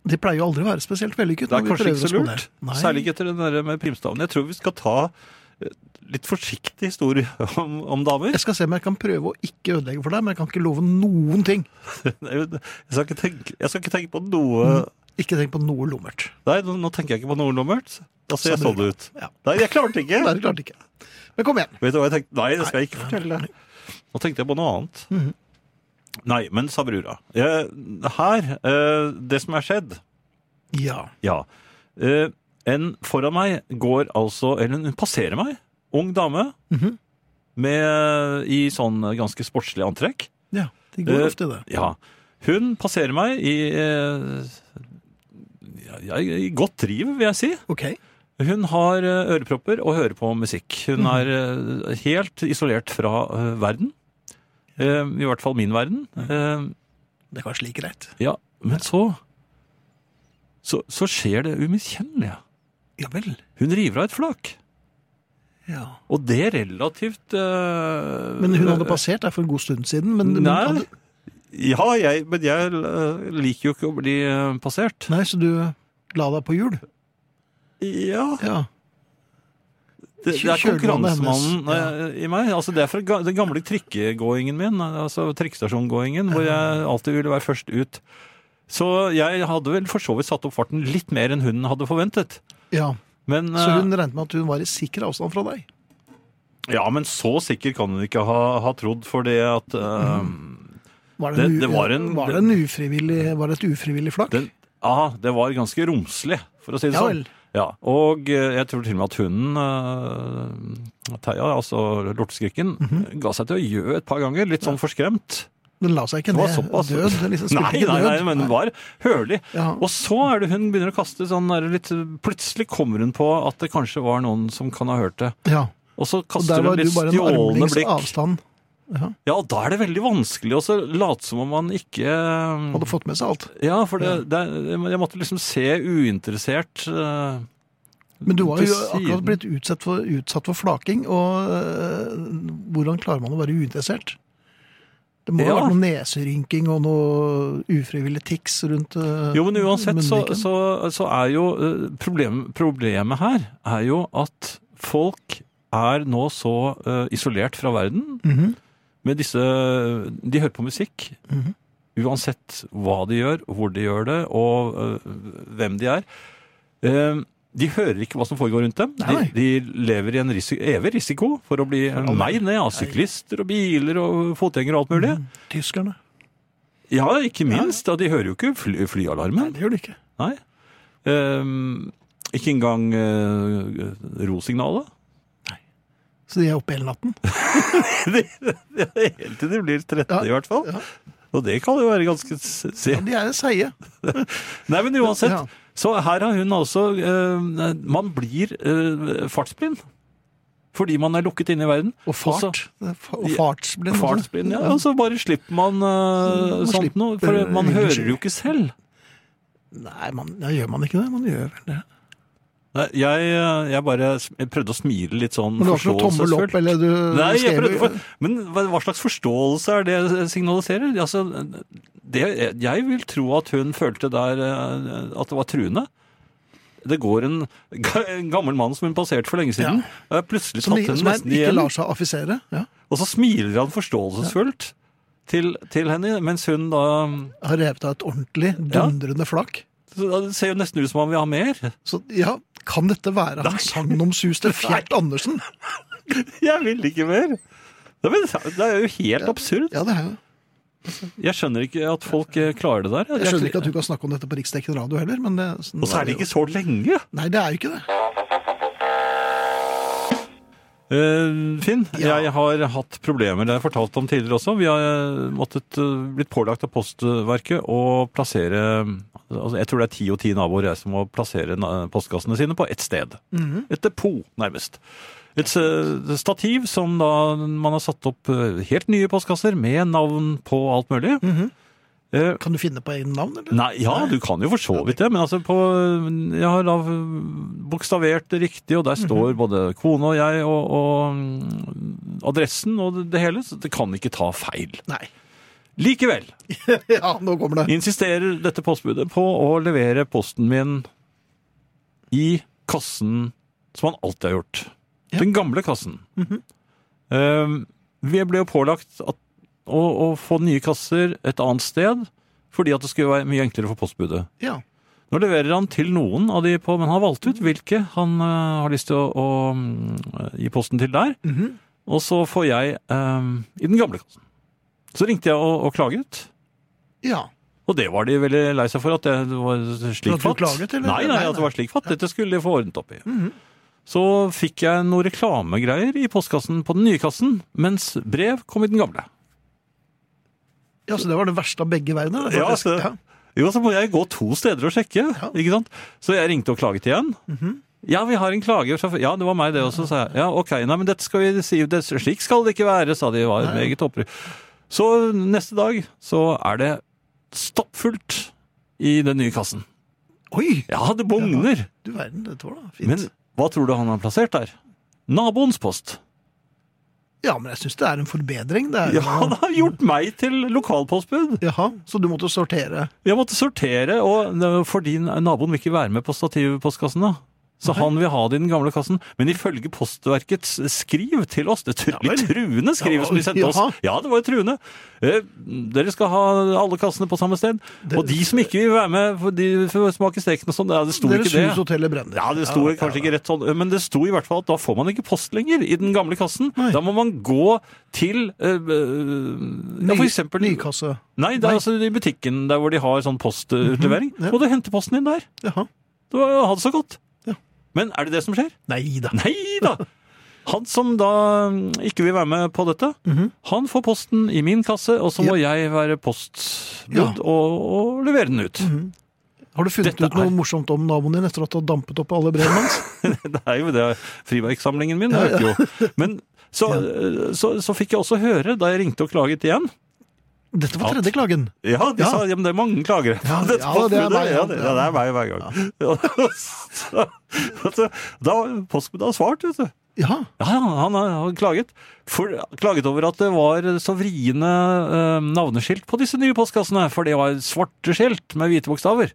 [SPEAKER 2] Det pleier jo aldri å være spesielt vellykket.
[SPEAKER 3] det er
[SPEAKER 2] når vi
[SPEAKER 3] kanskje
[SPEAKER 2] prøver
[SPEAKER 3] ikke så
[SPEAKER 2] oss på
[SPEAKER 3] lurt.
[SPEAKER 2] det. Nei.
[SPEAKER 3] Særlig ikke etter den der med primstaven. Jeg tror vi skal ta eh, litt forsiktig historie (laughs) om, om damer.
[SPEAKER 2] Jeg skal se om jeg kan prøve å ikke ødelegge for deg, men jeg kan ikke love noen ting.
[SPEAKER 3] Jeg skal ikke tenke, jeg skal ikke tenke på noe
[SPEAKER 2] Mm. Ikke tenk på noe lummert.
[SPEAKER 3] Nei, nå, nå tenker jeg ikke på noe nummert. Da ser jeg
[SPEAKER 2] Sa
[SPEAKER 3] sånn
[SPEAKER 2] du.
[SPEAKER 3] ut.
[SPEAKER 2] Ja.
[SPEAKER 3] Nei, jeg klarte ikke.
[SPEAKER 2] (laughs) Nei, det klarte ikke. Men kom igjen.
[SPEAKER 3] Vet du hva jeg tenkte? Nei, det skal jeg ikke fortelle. Nå tenkte jeg på noe annet.
[SPEAKER 2] Mhm.
[SPEAKER 3] Nei, men Sabrura. Eh, her, eh, det som er skjedd
[SPEAKER 2] Ja.
[SPEAKER 3] Ja. Eh, en foran meg går altså Eller hun passerer meg. Ung dame.
[SPEAKER 2] Mhm.
[SPEAKER 3] med, I sånn ganske sportslig antrekk.
[SPEAKER 2] ja. De går
[SPEAKER 3] Eh,
[SPEAKER 2] ofte i det.
[SPEAKER 3] Ja. Hun passerer meg i eh, ja, I godt driv, vil jeg si.
[SPEAKER 2] Ok.
[SPEAKER 3] Hun har eh, ørepropper og hører på musikk. Hun er eh, helt isolert fra eh, verden. Eh, I hvert fall min verden. Eh,
[SPEAKER 2] Det er kanskje like greit.
[SPEAKER 3] Ja, men så Så, så skjer det umiskjennelige.
[SPEAKER 2] Ja vel.
[SPEAKER 3] Hun river av et flak.
[SPEAKER 2] Ja.
[SPEAKER 3] Og det relativt eh,
[SPEAKER 2] Men hun hadde passert der for en god stund siden. Men, men
[SPEAKER 3] Nei.
[SPEAKER 2] hadde,
[SPEAKER 3] Ja, jeg, men jeg eh, liker jo ikke å bli eh, passert.
[SPEAKER 2] nei, så du la deg på hjul?
[SPEAKER 3] Ja,
[SPEAKER 2] Ja.
[SPEAKER 3] Det, det er
[SPEAKER 2] Kjø- kjølvannet
[SPEAKER 3] konkurransemannen
[SPEAKER 2] hennes,
[SPEAKER 3] eh, i meg. Altså, det er fra ga- den gamle trikkegåingen min, altså trikkestasjongåingen, hvor jeg alltid ville være først ut. Så jeg hadde vel for så vidt satt opp farten litt mer enn hun hadde forventet.
[SPEAKER 2] ja.
[SPEAKER 3] Men,
[SPEAKER 2] Så
[SPEAKER 3] eh,
[SPEAKER 2] hun regnet med at hun var i sikker avstand fra deg?
[SPEAKER 3] ja, men så sikker kan hun ikke ha, ha trodd, for det at eh,
[SPEAKER 2] Mm. Var
[SPEAKER 3] Det-
[SPEAKER 2] u-
[SPEAKER 3] det var en-
[SPEAKER 2] var det, en ufrivillig, var det et ufrivillig flak?
[SPEAKER 3] Den- Ja, det var ganske romslig, for å si det
[SPEAKER 2] Ja
[SPEAKER 3] sånn.
[SPEAKER 2] vel.
[SPEAKER 3] Ja, og eh, jeg tror til og med at hunden, eh, Theia, altså lorteskrikken,
[SPEAKER 2] Mhm.
[SPEAKER 3] ga seg til å gjø et par ganger, litt sånn forskremt.
[SPEAKER 2] Den la seg ikke
[SPEAKER 3] Det
[SPEAKER 2] ned
[SPEAKER 3] var såpass.
[SPEAKER 2] død? Den liksom spilte
[SPEAKER 3] nei,
[SPEAKER 2] ikke
[SPEAKER 3] nei, nei,
[SPEAKER 2] død.
[SPEAKER 3] men den var hølig.
[SPEAKER 2] Ja.
[SPEAKER 3] Og så er det hun begynner å kaste sånn der litt Plutselig kommer hun på at det kanskje var noen som kan ha hørt det.
[SPEAKER 2] ja.
[SPEAKER 3] Og så
[SPEAKER 2] Og der
[SPEAKER 3] kaster
[SPEAKER 2] var
[SPEAKER 3] hun
[SPEAKER 2] du
[SPEAKER 3] litt
[SPEAKER 2] bare en
[SPEAKER 3] stjålne
[SPEAKER 2] armlengdes
[SPEAKER 3] blikk.
[SPEAKER 2] avstand. Ja.
[SPEAKER 3] Ja, og da er det veldig vanskelig å så late som om man ikke eh,
[SPEAKER 2] Hadde fått med seg alt.
[SPEAKER 3] Ja, for det, det, jeg måtte liksom se uinteressert eh,
[SPEAKER 2] Men du var
[SPEAKER 3] til
[SPEAKER 2] jo
[SPEAKER 3] siden.
[SPEAKER 2] akkurat blitt utsatt for, utsatt for flaking, og øh, hvordan klarer man å være uinteressert? Det må ha
[SPEAKER 3] Ja.
[SPEAKER 2] vært noe neserynking og noe ufrivillig tics rundt øh,
[SPEAKER 3] Jo, men uansett så,
[SPEAKER 2] munnviken.
[SPEAKER 3] så, så er jo eh, problem, problemet her er jo at folk er nå så eh, isolert fra verden
[SPEAKER 2] Mhm.
[SPEAKER 3] med disse De hører på musikk.
[SPEAKER 2] Mhm.
[SPEAKER 3] Uansett hva de gjør, hvor de gjør det, og øh, hvem de er. Eh, de hører ikke hva som foregår rundt dem.
[SPEAKER 2] Nei, nei.
[SPEAKER 3] De, de lever i en risi evig risiko for å bli meg ned av syklister og biler og fotgjengere og alt mulig.
[SPEAKER 2] Tyskerne.
[SPEAKER 3] Mhm. Ja, ikke minst. Da, de hører jo ikke fly flyalarmen.
[SPEAKER 2] det gjør de ikke.
[SPEAKER 3] Nei. Eh, ikke engang eh, (laughs) rosignalet.
[SPEAKER 2] Så de er oppe hele natten.
[SPEAKER 3] Helt til de blir 13
[SPEAKER 2] Ja,
[SPEAKER 3] i hvert fall.
[SPEAKER 2] ja.
[SPEAKER 3] Og det kan jo være ganske s- se
[SPEAKER 2] Ja, de er seige.
[SPEAKER 3] Nei, men uansett.
[SPEAKER 2] Ja.
[SPEAKER 3] Så her har hun altså eh, Man blir eh, fartsblind. Fordi man er lukket inne i verden.
[SPEAKER 2] Og fart.
[SPEAKER 3] Også-
[SPEAKER 2] og fartsblind. også.
[SPEAKER 3] Fartsblind, ja. Og så bare slipper man eh,
[SPEAKER 2] Man
[SPEAKER 3] sånt
[SPEAKER 2] slipper
[SPEAKER 3] noe. For man
[SPEAKER 2] ingen
[SPEAKER 3] hører
[SPEAKER 2] skyld.
[SPEAKER 3] jo ikke selv.
[SPEAKER 2] Nei, man, ja, gjør man ikke det? Man gjør vel det.
[SPEAKER 3] Nei, Jeg, eh, jeg bare s- jeg prøvde å smile litt sånn
[SPEAKER 2] Men du har ikke noe tommel opp,
[SPEAKER 3] forståelsesfullt.
[SPEAKER 2] eller du
[SPEAKER 3] Nei, jeg
[SPEAKER 2] skrev-
[SPEAKER 3] prøvde, for, men hva hva slags forståelse er det jeg signaliserer? Altså, det, jeg vil tro at hun følte der eh, at det var truende. Det går en, ga- en gammel mann som hun passerte for lenge siden, og er plutselig
[SPEAKER 2] Som,
[SPEAKER 3] tatt
[SPEAKER 2] ikke-
[SPEAKER 3] henne
[SPEAKER 2] som er-
[SPEAKER 3] nesten
[SPEAKER 2] ikke
[SPEAKER 3] igjen.
[SPEAKER 2] lar seg affisere? Ja.
[SPEAKER 3] Og så smiler han forståelsesfullt til, til henne, mens hun da
[SPEAKER 2] Har revet av et ordentlig, dundrende flak?
[SPEAKER 3] så da ser jo nesten ut som han vil ha mer.
[SPEAKER 2] (laughs) Så ja, kan dette være
[SPEAKER 3] (laughs)
[SPEAKER 2] han sagnomsuste Fjert Andersen?
[SPEAKER 3] Jeg vil ikke mer! Det er, det er jo helt absurd.
[SPEAKER 2] Ja, det er jo.
[SPEAKER 3] Jeg skjønner ikke at folk eh, klarer det der.
[SPEAKER 2] Jeg skjønner ikke at du kan snakke om dette på riksdekkende radio heller, men det, sånn
[SPEAKER 3] Og så er det ikke så lenge!
[SPEAKER 2] Nei, det er jo ikke det.
[SPEAKER 3] Eh, Finn,
[SPEAKER 2] Ja.
[SPEAKER 3] jeg har hatt problemer. Det har jeg fortalt om tidligere også. Vi har eh, måttet eh, blitt pålagt av Postverket å plassere altså Jeg tror det er ti og ti naboer jeg som må plassere na- postkassene sine på ett sted. Et depot, nærmest. Et eh, stativ som da man har satt opp eh, helt nye postkasser med navn på alt mulig. Eh,
[SPEAKER 2] Kan du finne på egne navn, eller?
[SPEAKER 3] Nei, ja, du kan jo for så vidt det, men altså på, jeg har da bokstavert det riktig, og der står både kone og jeg og, og mm, adressen og det hele, så det kan ikke ta feil.
[SPEAKER 2] Nei. (laughs)
[SPEAKER 3] Likevel
[SPEAKER 2] Ja, nå kommer det.
[SPEAKER 3] insisterer dette postbudet på å levere posten min i kassen som han alltid har gjort.
[SPEAKER 2] Ja.
[SPEAKER 3] Den gamle kassen. Eh, vi ble jo pålagt at, å, å få nye kasser et annet sted, fordi at det skulle være mye enklere for postbudet.
[SPEAKER 2] Ja.
[SPEAKER 3] Nå leverer han til noen av de på, men han har valgt ut hvilke han eh, har lyst til å, å mm, gi posten til der.
[SPEAKER 2] Mhm.
[SPEAKER 3] Og så får jeg eh, i den gamle kassen. Så ringte jeg og, og klaget.
[SPEAKER 2] ja.
[SPEAKER 3] Og det var de veldig lei seg for, at det var slik
[SPEAKER 2] At du
[SPEAKER 3] fatt.
[SPEAKER 2] klaget, eller?
[SPEAKER 3] Nei, nei,
[SPEAKER 2] Nei,
[SPEAKER 3] at det
[SPEAKER 2] nei. Mhm.
[SPEAKER 3] var slik fatt. Dette skulle de få ordnet opp i. Så fikk jeg noen reklamegreier i postkassen på den nye kassen, mens brev kom i den gamle.
[SPEAKER 2] ja, så det var det verste av begge verdener. det,
[SPEAKER 3] Ja,
[SPEAKER 2] faktisk.
[SPEAKER 3] så- Jo, så må jeg gå to steder og sjekke,
[SPEAKER 2] Ja.
[SPEAKER 3] ikke sant? Så jeg ringte og klaget igjen. Ja, vi har en klage. fra- Ja, det var meg det også, sa jeg. Ja, ok, nei, men dette skal vi si, det, slik skal det ikke være, sa de. Det var meget opprørt. Så neste dag så er det stappfullt i den nye kassen.
[SPEAKER 2] Oi!
[SPEAKER 3] Ja, det bugner.
[SPEAKER 2] Du verden, dette var da fint.
[SPEAKER 3] Men hva tror du han har plassert der? Naboens post.
[SPEAKER 2] ja, men jeg syns det er en forbedring. Det er,
[SPEAKER 3] Ja, han har gjort meg til lokalpostbud.
[SPEAKER 2] Jaha, så du måtte sortere.
[SPEAKER 3] Jeg måtte sortere, og eh, fordi naboen vil ikke være med på stativpostkassen da. Så han vil ha det i den gamle kassen. Men ifølge postverkets eh, skriv til oss, det tru,
[SPEAKER 2] Ja vel.
[SPEAKER 3] truende skrivet som de sendte
[SPEAKER 2] Jaha.
[SPEAKER 3] oss. Ja, det var jo truende. Eh, dere skal ha alle kassene på samme sted.
[SPEAKER 2] Det-
[SPEAKER 3] Og de som ikke vil være med, for de får smake steken og sånn. Ja, det sto
[SPEAKER 2] Deres
[SPEAKER 3] ikke det.
[SPEAKER 2] hus, hotell brenner.
[SPEAKER 3] Ja, det sto kanskje ikke rett sånn, men det sto i hvert fall at da får man ikke post lenger i den gamle kassen.
[SPEAKER 2] Nei.
[SPEAKER 3] Da må man gå til eh, eh, ja, for eksempel
[SPEAKER 2] Nykasse.
[SPEAKER 3] Nei, det er altså i butikken der hvor de har sånn postutlevering.
[SPEAKER 2] Mhm, ja.
[SPEAKER 3] Og du henter posten din der.
[SPEAKER 2] Jaha.
[SPEAKER 3] Du har det så godt.
[SPEAKER 2] Ja.
[SPEAKER 3] Men er det det som skjer? (laughs)
[SPEAKER 2] Nei da.
[SPEAKER 3] Nei da! Han som da mm, ikke vil være med på dette,
[SPEAKER 2] Mhm.
[SPEAKER 3] han får posten i min kasse, og så må jeg være postbud
[SPEAKER 2] Ja. Mhm.
[SPEAKER 3] og, og levere den ut.
[SPEAKER 2] Har du funnet
[SPEAKER 3] Dette
[SPEAKER 2] ut noe
[SPEAKER 3] er-
[SPEAKER 2] morsomt om naboen din etter at du har dampet opp alle brevene hans?
[SPEAKER 3] (laughs) Det er jo det friverksamlingen min øker jo. Men så, eh, så, så fikk jeg også høre, da jeg ringte og klaget igjen
[SPEAKER 2] Dette var
[SPEAKER 3] Ja.
[SPEAKER 2] tredje klagen.
[SPEAKER 3] Ja, de
[SPEAKER 2] Ja.
[SPEAKER 3] sa ja, men det er mange klagere. (laughs)
[SPEAKER 2] Ja,
[SPEAKER 3] Dette
[SPEAKER 2] ja, det er
[SPEAKER 3] postbudet,
[SPEAKER 2] meg, ja.
[SPEAKER 3] Ja, det, ja, det er meg hver gang. (laughs) Så- så- da postbudet har svart, vet du.
[SPEAKER 2] Ja.
[SPEAKER 3] Ja, ja, han har han har klaget. For, klaget over at det var så vriene eh, navneskilt på disse nye postkassene, for det var svarte skilt med hvite bokstaver.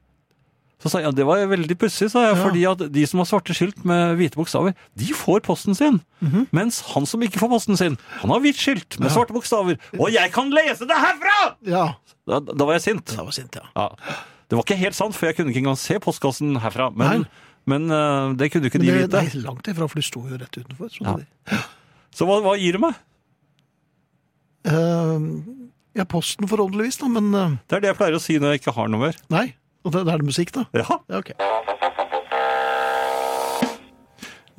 [SPEAKER 3] Så sa jeg, ja, Det var veldig pussig, sa jeg,
[SPEAKER 2] Ja.
[SPEAKER 3] fordi at de som har svarte skilt med hvite bokstaver, de får posten sin.
[SPEAKER 2] Mhm.
[SPEAKER 3] Mens han som ikke får posten sin, han har hvitt skilt med svarte bokstaver. Og jeg kan lese det herfra!
[SPEAKER 2] ja.
[SPEAKER 3] Da, da var jeg sint.
[SPEAKER 2] Det var sint, ja.
[SPEAKER 3] Ja. Det var ikke helt sant, for jeg kunne ikke engang se postkassen herfra. Men,
[SPEAKER 2] Nei.
[SPEAKER 3] men eh, det kunne jo ikke
[SPEAKER 2] Men
[SPEAKER 3] de
[SPEAKER 2] det,
[SPEAKER 3] vite.
[SPEAKER 2] nei, langt ifra, for du sto jo rett utenfor.
[SPEAKER 3] Ja.
[SPEAKER 2] Ja.
[SPEAKER 3] Så hva, hva gir det meg?
[SPEAKER 2] Eh, ja, posten forhåpentligvis, da, men eh,
[SPEAKER 3] Det er det jeg pleier å si når jeg ikke har noe mer.
[SPEAKER 2] nei. Og da da er det musikk, da.
[SPEAKER 3] Ja,
[SPEAKER 2] Ja, ok.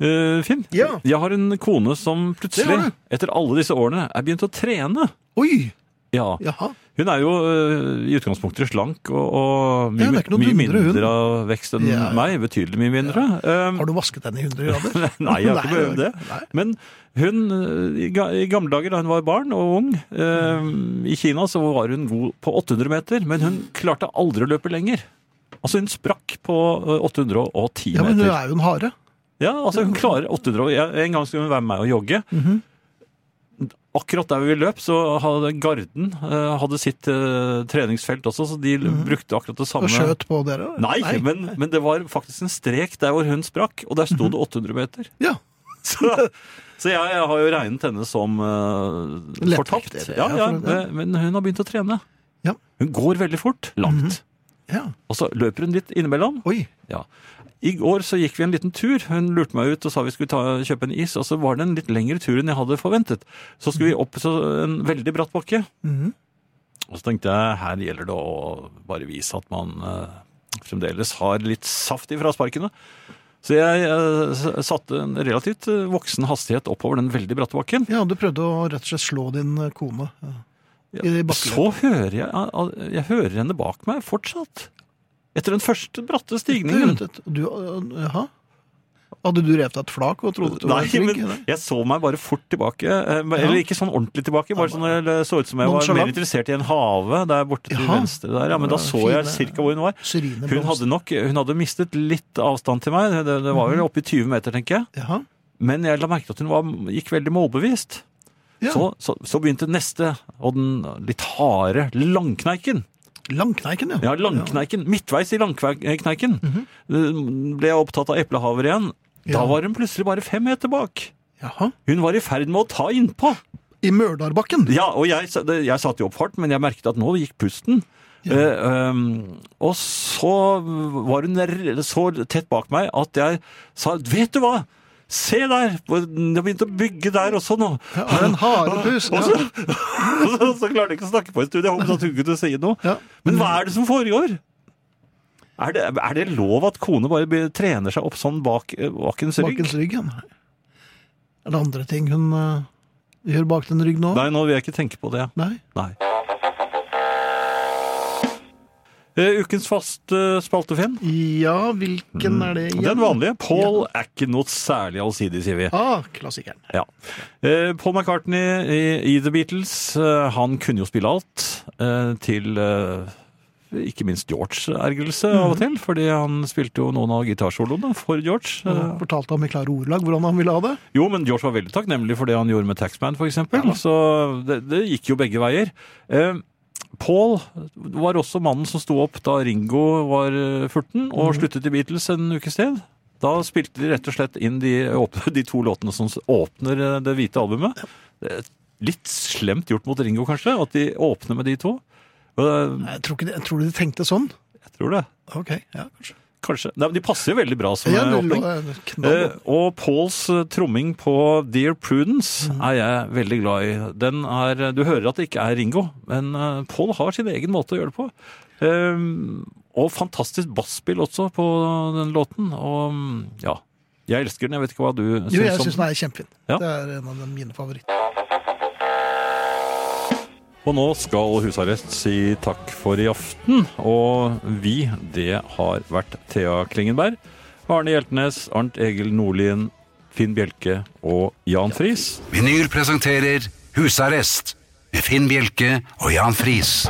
[SPEAKER 3] eh, Finn.
[SPEAKER 2] Ja.
[SPEAKER 3] Jeg har en kone
[SPEAKER 2] Det
[SPEAKER 3] som
[SPEAKER 2] har
[SPEAKER 3] plutselig,
[SPEAKER 2] du.
[SPEAKER 3] etter alle disse årene, er begynt å trene.
[SPEAKER 2] Oi!
[SPEAKER 3] Ja.
[SPEAKER 2] Jaha.
[SPEAKER 3] Hun er jo eh, i utgangspunktet slank og, og
[SPEAKER 2] Ja,
[SPEAKER 3] mye,
[SPEAKER 2] det er ikke noe
[SPEAKER 3] mye
[SPEAKER 2] dundre,
[SPEAKER 3] mindre
[SPEAKER 2] hun.
[SPEAKER 3] av vekst enn
[SPEAKER 2] Ja, ja.
[SPEAKER 3] meg. Betydelig mye mindre. Um,
[SPEAKER 2] Har du vasket den i 100 grader?
[SPEAKER 3] (laughs) Nei, jeg har ikke
[SPEAKER 2] Nei,
[SPEAKER 3] behøvd det.
[SPEAKER 2] nei.
[SPEAKER 3] Men hun, eh, i ga- i gamle dager da hun var barn og ung, eh, i Kina så var hun god på 800 meter, men hun klarte aldri å løpe lenger. Altså hun sprakk på eh, 810
[SPEAKER 2] Ja, men hun
[SPEAKER 3] meter.
[SPEAKER 2] er jo en hare.
[SPEAKER 3] Ja, altså hun klarer 800, og jeg- en gang skulle hun være med meg og jogge.
[SPEAKER 2] Mhm.
[SPEAKER 3] Akkurat der vi løp, så hadde Garden eh, hadde sitt eh, treningsfelt også, så de brukte akkurat det samme.
[SPEAKER 2] Mhm. Og skjøt på dere. eller?
[SPEAKER 3] Nei, Men, men det var faktisk en strek der hvor hun sprakk, og der
[SPEAKER 2] Mhm.
[SPEAKER 3] sto det 800 meter.
[SPEAKER 2] Ja.
[SPEAKER 3] Så, (laughs) så jeg, jeg har jo regnet henne som eh,
[SPEAKER 2] Lettvekter,
[SPEAKER 3] fortapt. Ja,
[SPEAKER 2] ja,
[SPEAKER 3] ja,
[SPEAKER 2] for- ja.
[SPEAKER 3] men- Men hun har begynt å trene.
[SPEAKER 2] Ja. Mhm.
[SPEAKER 3] Hun går veldig fort, langt.
[SPEAKER 2] ja.
[SPEAKER 3] Og så løper hun litt innimellom.
[SPEAKER 2] Oi.
[SPEAKER 3] Ja. I går så gikk vi en liten tur. Hun lurte meg ut og sa vi skulle ta, kjøpe en is. Og så var det en litt lengre tur enn jeg hadde forventet. Så skulle vi opp så en veldig bratt bakke.
[SPEAKER 2] Mhm.
[SPEAKER 3] Og så tenkte jeg her gjelder det å bare vise at man eh, fremdeles har litt saft i frasparkene. Så jeg eh, s- satte en relativt eh, voksen hastighet oppover den veldig bratte bakken.
[SPEAKER 2] Ja, du prøvde å rett og slett slå din eh, kone. Ja. I
[SPEAKER 3] Så
[SPEAKER 2] bakkeløpet.
[SPEAKER 3] hører jeg, jeg hører henne bak meg fortsatt. Etter den første bratte stigningen.
[SPEAKER 2] Du, du, eh, jaha. Hadde du revet deg et flak og trodde du
[SPEAKER 3] Nei,
[SPEAKER 2] var trygg?
[SPEAKER 3] men
[SPEAKER 2] eller?
[SPEAKER 3] jeg så meg bare fort tilbake. eh, Eller ikke sånn ordentlig tilbake, bare sånn jeg så ut som jeg var
[SPEAKER 2] Nonchalant.
[SPEAKER 3] mer interessert i en have der borte til
[SPEAKER 2] Jaha.
[SPEAKER 3] venstre der. Ja, men da så jeg
[SPEAKER 2] Fine.
[SPEAKER 3] cirka hvor hun var.
[SPEAKER 2] Syrine
[SPEAKER 3] Hun hadde nok, hun hadde mistet litt avstand til meg. Det,
[SPEAKER 2] Mhm.
[SPEAKER 3] det var vel oppi 20 meter, tenker jeg.
[SPEAKER 2] Jaha.
[SPEAKER 3] Men jeg la merke til at hun var, gikk veldig målbevisst. Så, så, så begynte neste, og den litt harde langkneiken.
[SPEAKER 2] Langkneiken, ja. Mhm.
[SPEAKER 3] Ja, langkneiken. Midtveis i langkneiken eh, ble jeg opptatt av eplehaver igjen. Da
[SPEAKER 2] Ja.
[SPEAKER 3] var hun plutselig bare fem meter bak.
[SPEAKER 2] Jaha.
[SPEAKER 3] Hun var i ferd med å ta innpå.
[SPEAKER 2] I Mørdarbakken.
[SPEAKER 3] Ja, og jeg, sa- det- jeg satte jo opp fart, men jeg merket at nå gikk pusten. Eh, um, og så var hun r- så tett bak meg at jeg sa Vet du hva? Se der! Jeg begynte å bygge der også nå.
[SPEAKER 2] Har en harepus.
[SPEAKER 3] Og så, (laughs) og så klarte jeg ikke å snakke på en stund. Jeg håpet at hun kunne si noe.
[SPEAKER 2] Ja.
[SPEAKER 3] Men hva er det som foregår? Er det, er det lov at kone bare be- trener seg opp sånn bak eh, bakens rygg?
[SPEAKER 2] Bakens rygg, ja. Nei. Er det andre ting hun eh, gjør bak den ryggen nå?
[SPEAKER 3] Nei, nå vil jeg ikke tenke på det.
[SPEAKER 2] Nei.
[SPEAKER 3] Nei. Eh, ukens faste spalte, Finn.
[SPEAKER 2] Ja, hvilken er det igjen?
[SPEAKER 3] Mm. Den vanlige. Paul er ikke noe særlig allsidig, sier vi.
[SPEAKER 2] Ah, klassikeren.
[SPEAKER 3] Ja. Eh, Paul McCartney i, i The Beatles, eh, han kunne jo spille alt eh, til eh, ikke minst George-ergrelse av og til, fordi han spilte jo noen av gitarsoloene for George.
[SPEAKER 2] Han
[SPEAKER 3] Eh,
[SPEAKER 2] fortalte ham i klare ordelag hvordan han ville ha det.
[SPEAKER 3] Jo, men George var veldig takknemlig for det han gjorde med Taxman, f.eks. eksempel Så det, det gikk jo begge veier. Eh, Paul var også mannen som sto opp da Ringo var eh, 14 og sluttet i Beatles en ukes tid. Da spilte de rett og slett inn de, åpne, (laughs) de to låtene som s- åpner eh, det hvite albumet. Det er Litt slemt gjort mot Ringo, kanskje, at de åpner med de to. Eh,
[SPEAKER 2] Jeg tror, ikke, de- jeg tror de tenkte sånn.
[SPEAKER 3] Jeg tror det.
[SPEAKER 2] Ok, ja, kanskje.
[SPEAKER 3] Kanskje. Nei, men De passer jo veldig bra som
[SPEAKER 2] Ja,
[SPEAKER 3] eh,
[SPEAKER 2] det
[SPEAKER 3] åpning.
[SPEAKER 2] lå- eh, knall.
[SPEAKER 3] Eh, og Pauls eh, tromming på Dear Prudence
[SPEAKER 2] Mhm.
[SPEAKER 3] er jeg veldig glad i. Den er, eh, du hører at det ikke er Ringo, men eh, Paul har sin egen måte å gjøre det på. Eh, og fantastisk basspill også på den låten. Og mm, ja, jeg elsker den. Jeg vet ikke hva du syns
[SPEAKER 2] Jo, jeg
[SPEAKER 3] om
[SPEAKER 2] syns den er kjempefin.
[SPEAKER 3] sånn Ja.
[SPEAKER 2] Det er en av de mine favoritter.
[SPEAKER 3] Og nå skal husarrest si takk for i aften. Og vi, det har vært Thea Klingenberg, Arne Hjeltnes, Arnt Egil Nordlien, Finn Bjelke og Jan Friis.
[SPEAKER 1] Vinyl presenterer Husarrest med Finn Bjelke og Jan Friis.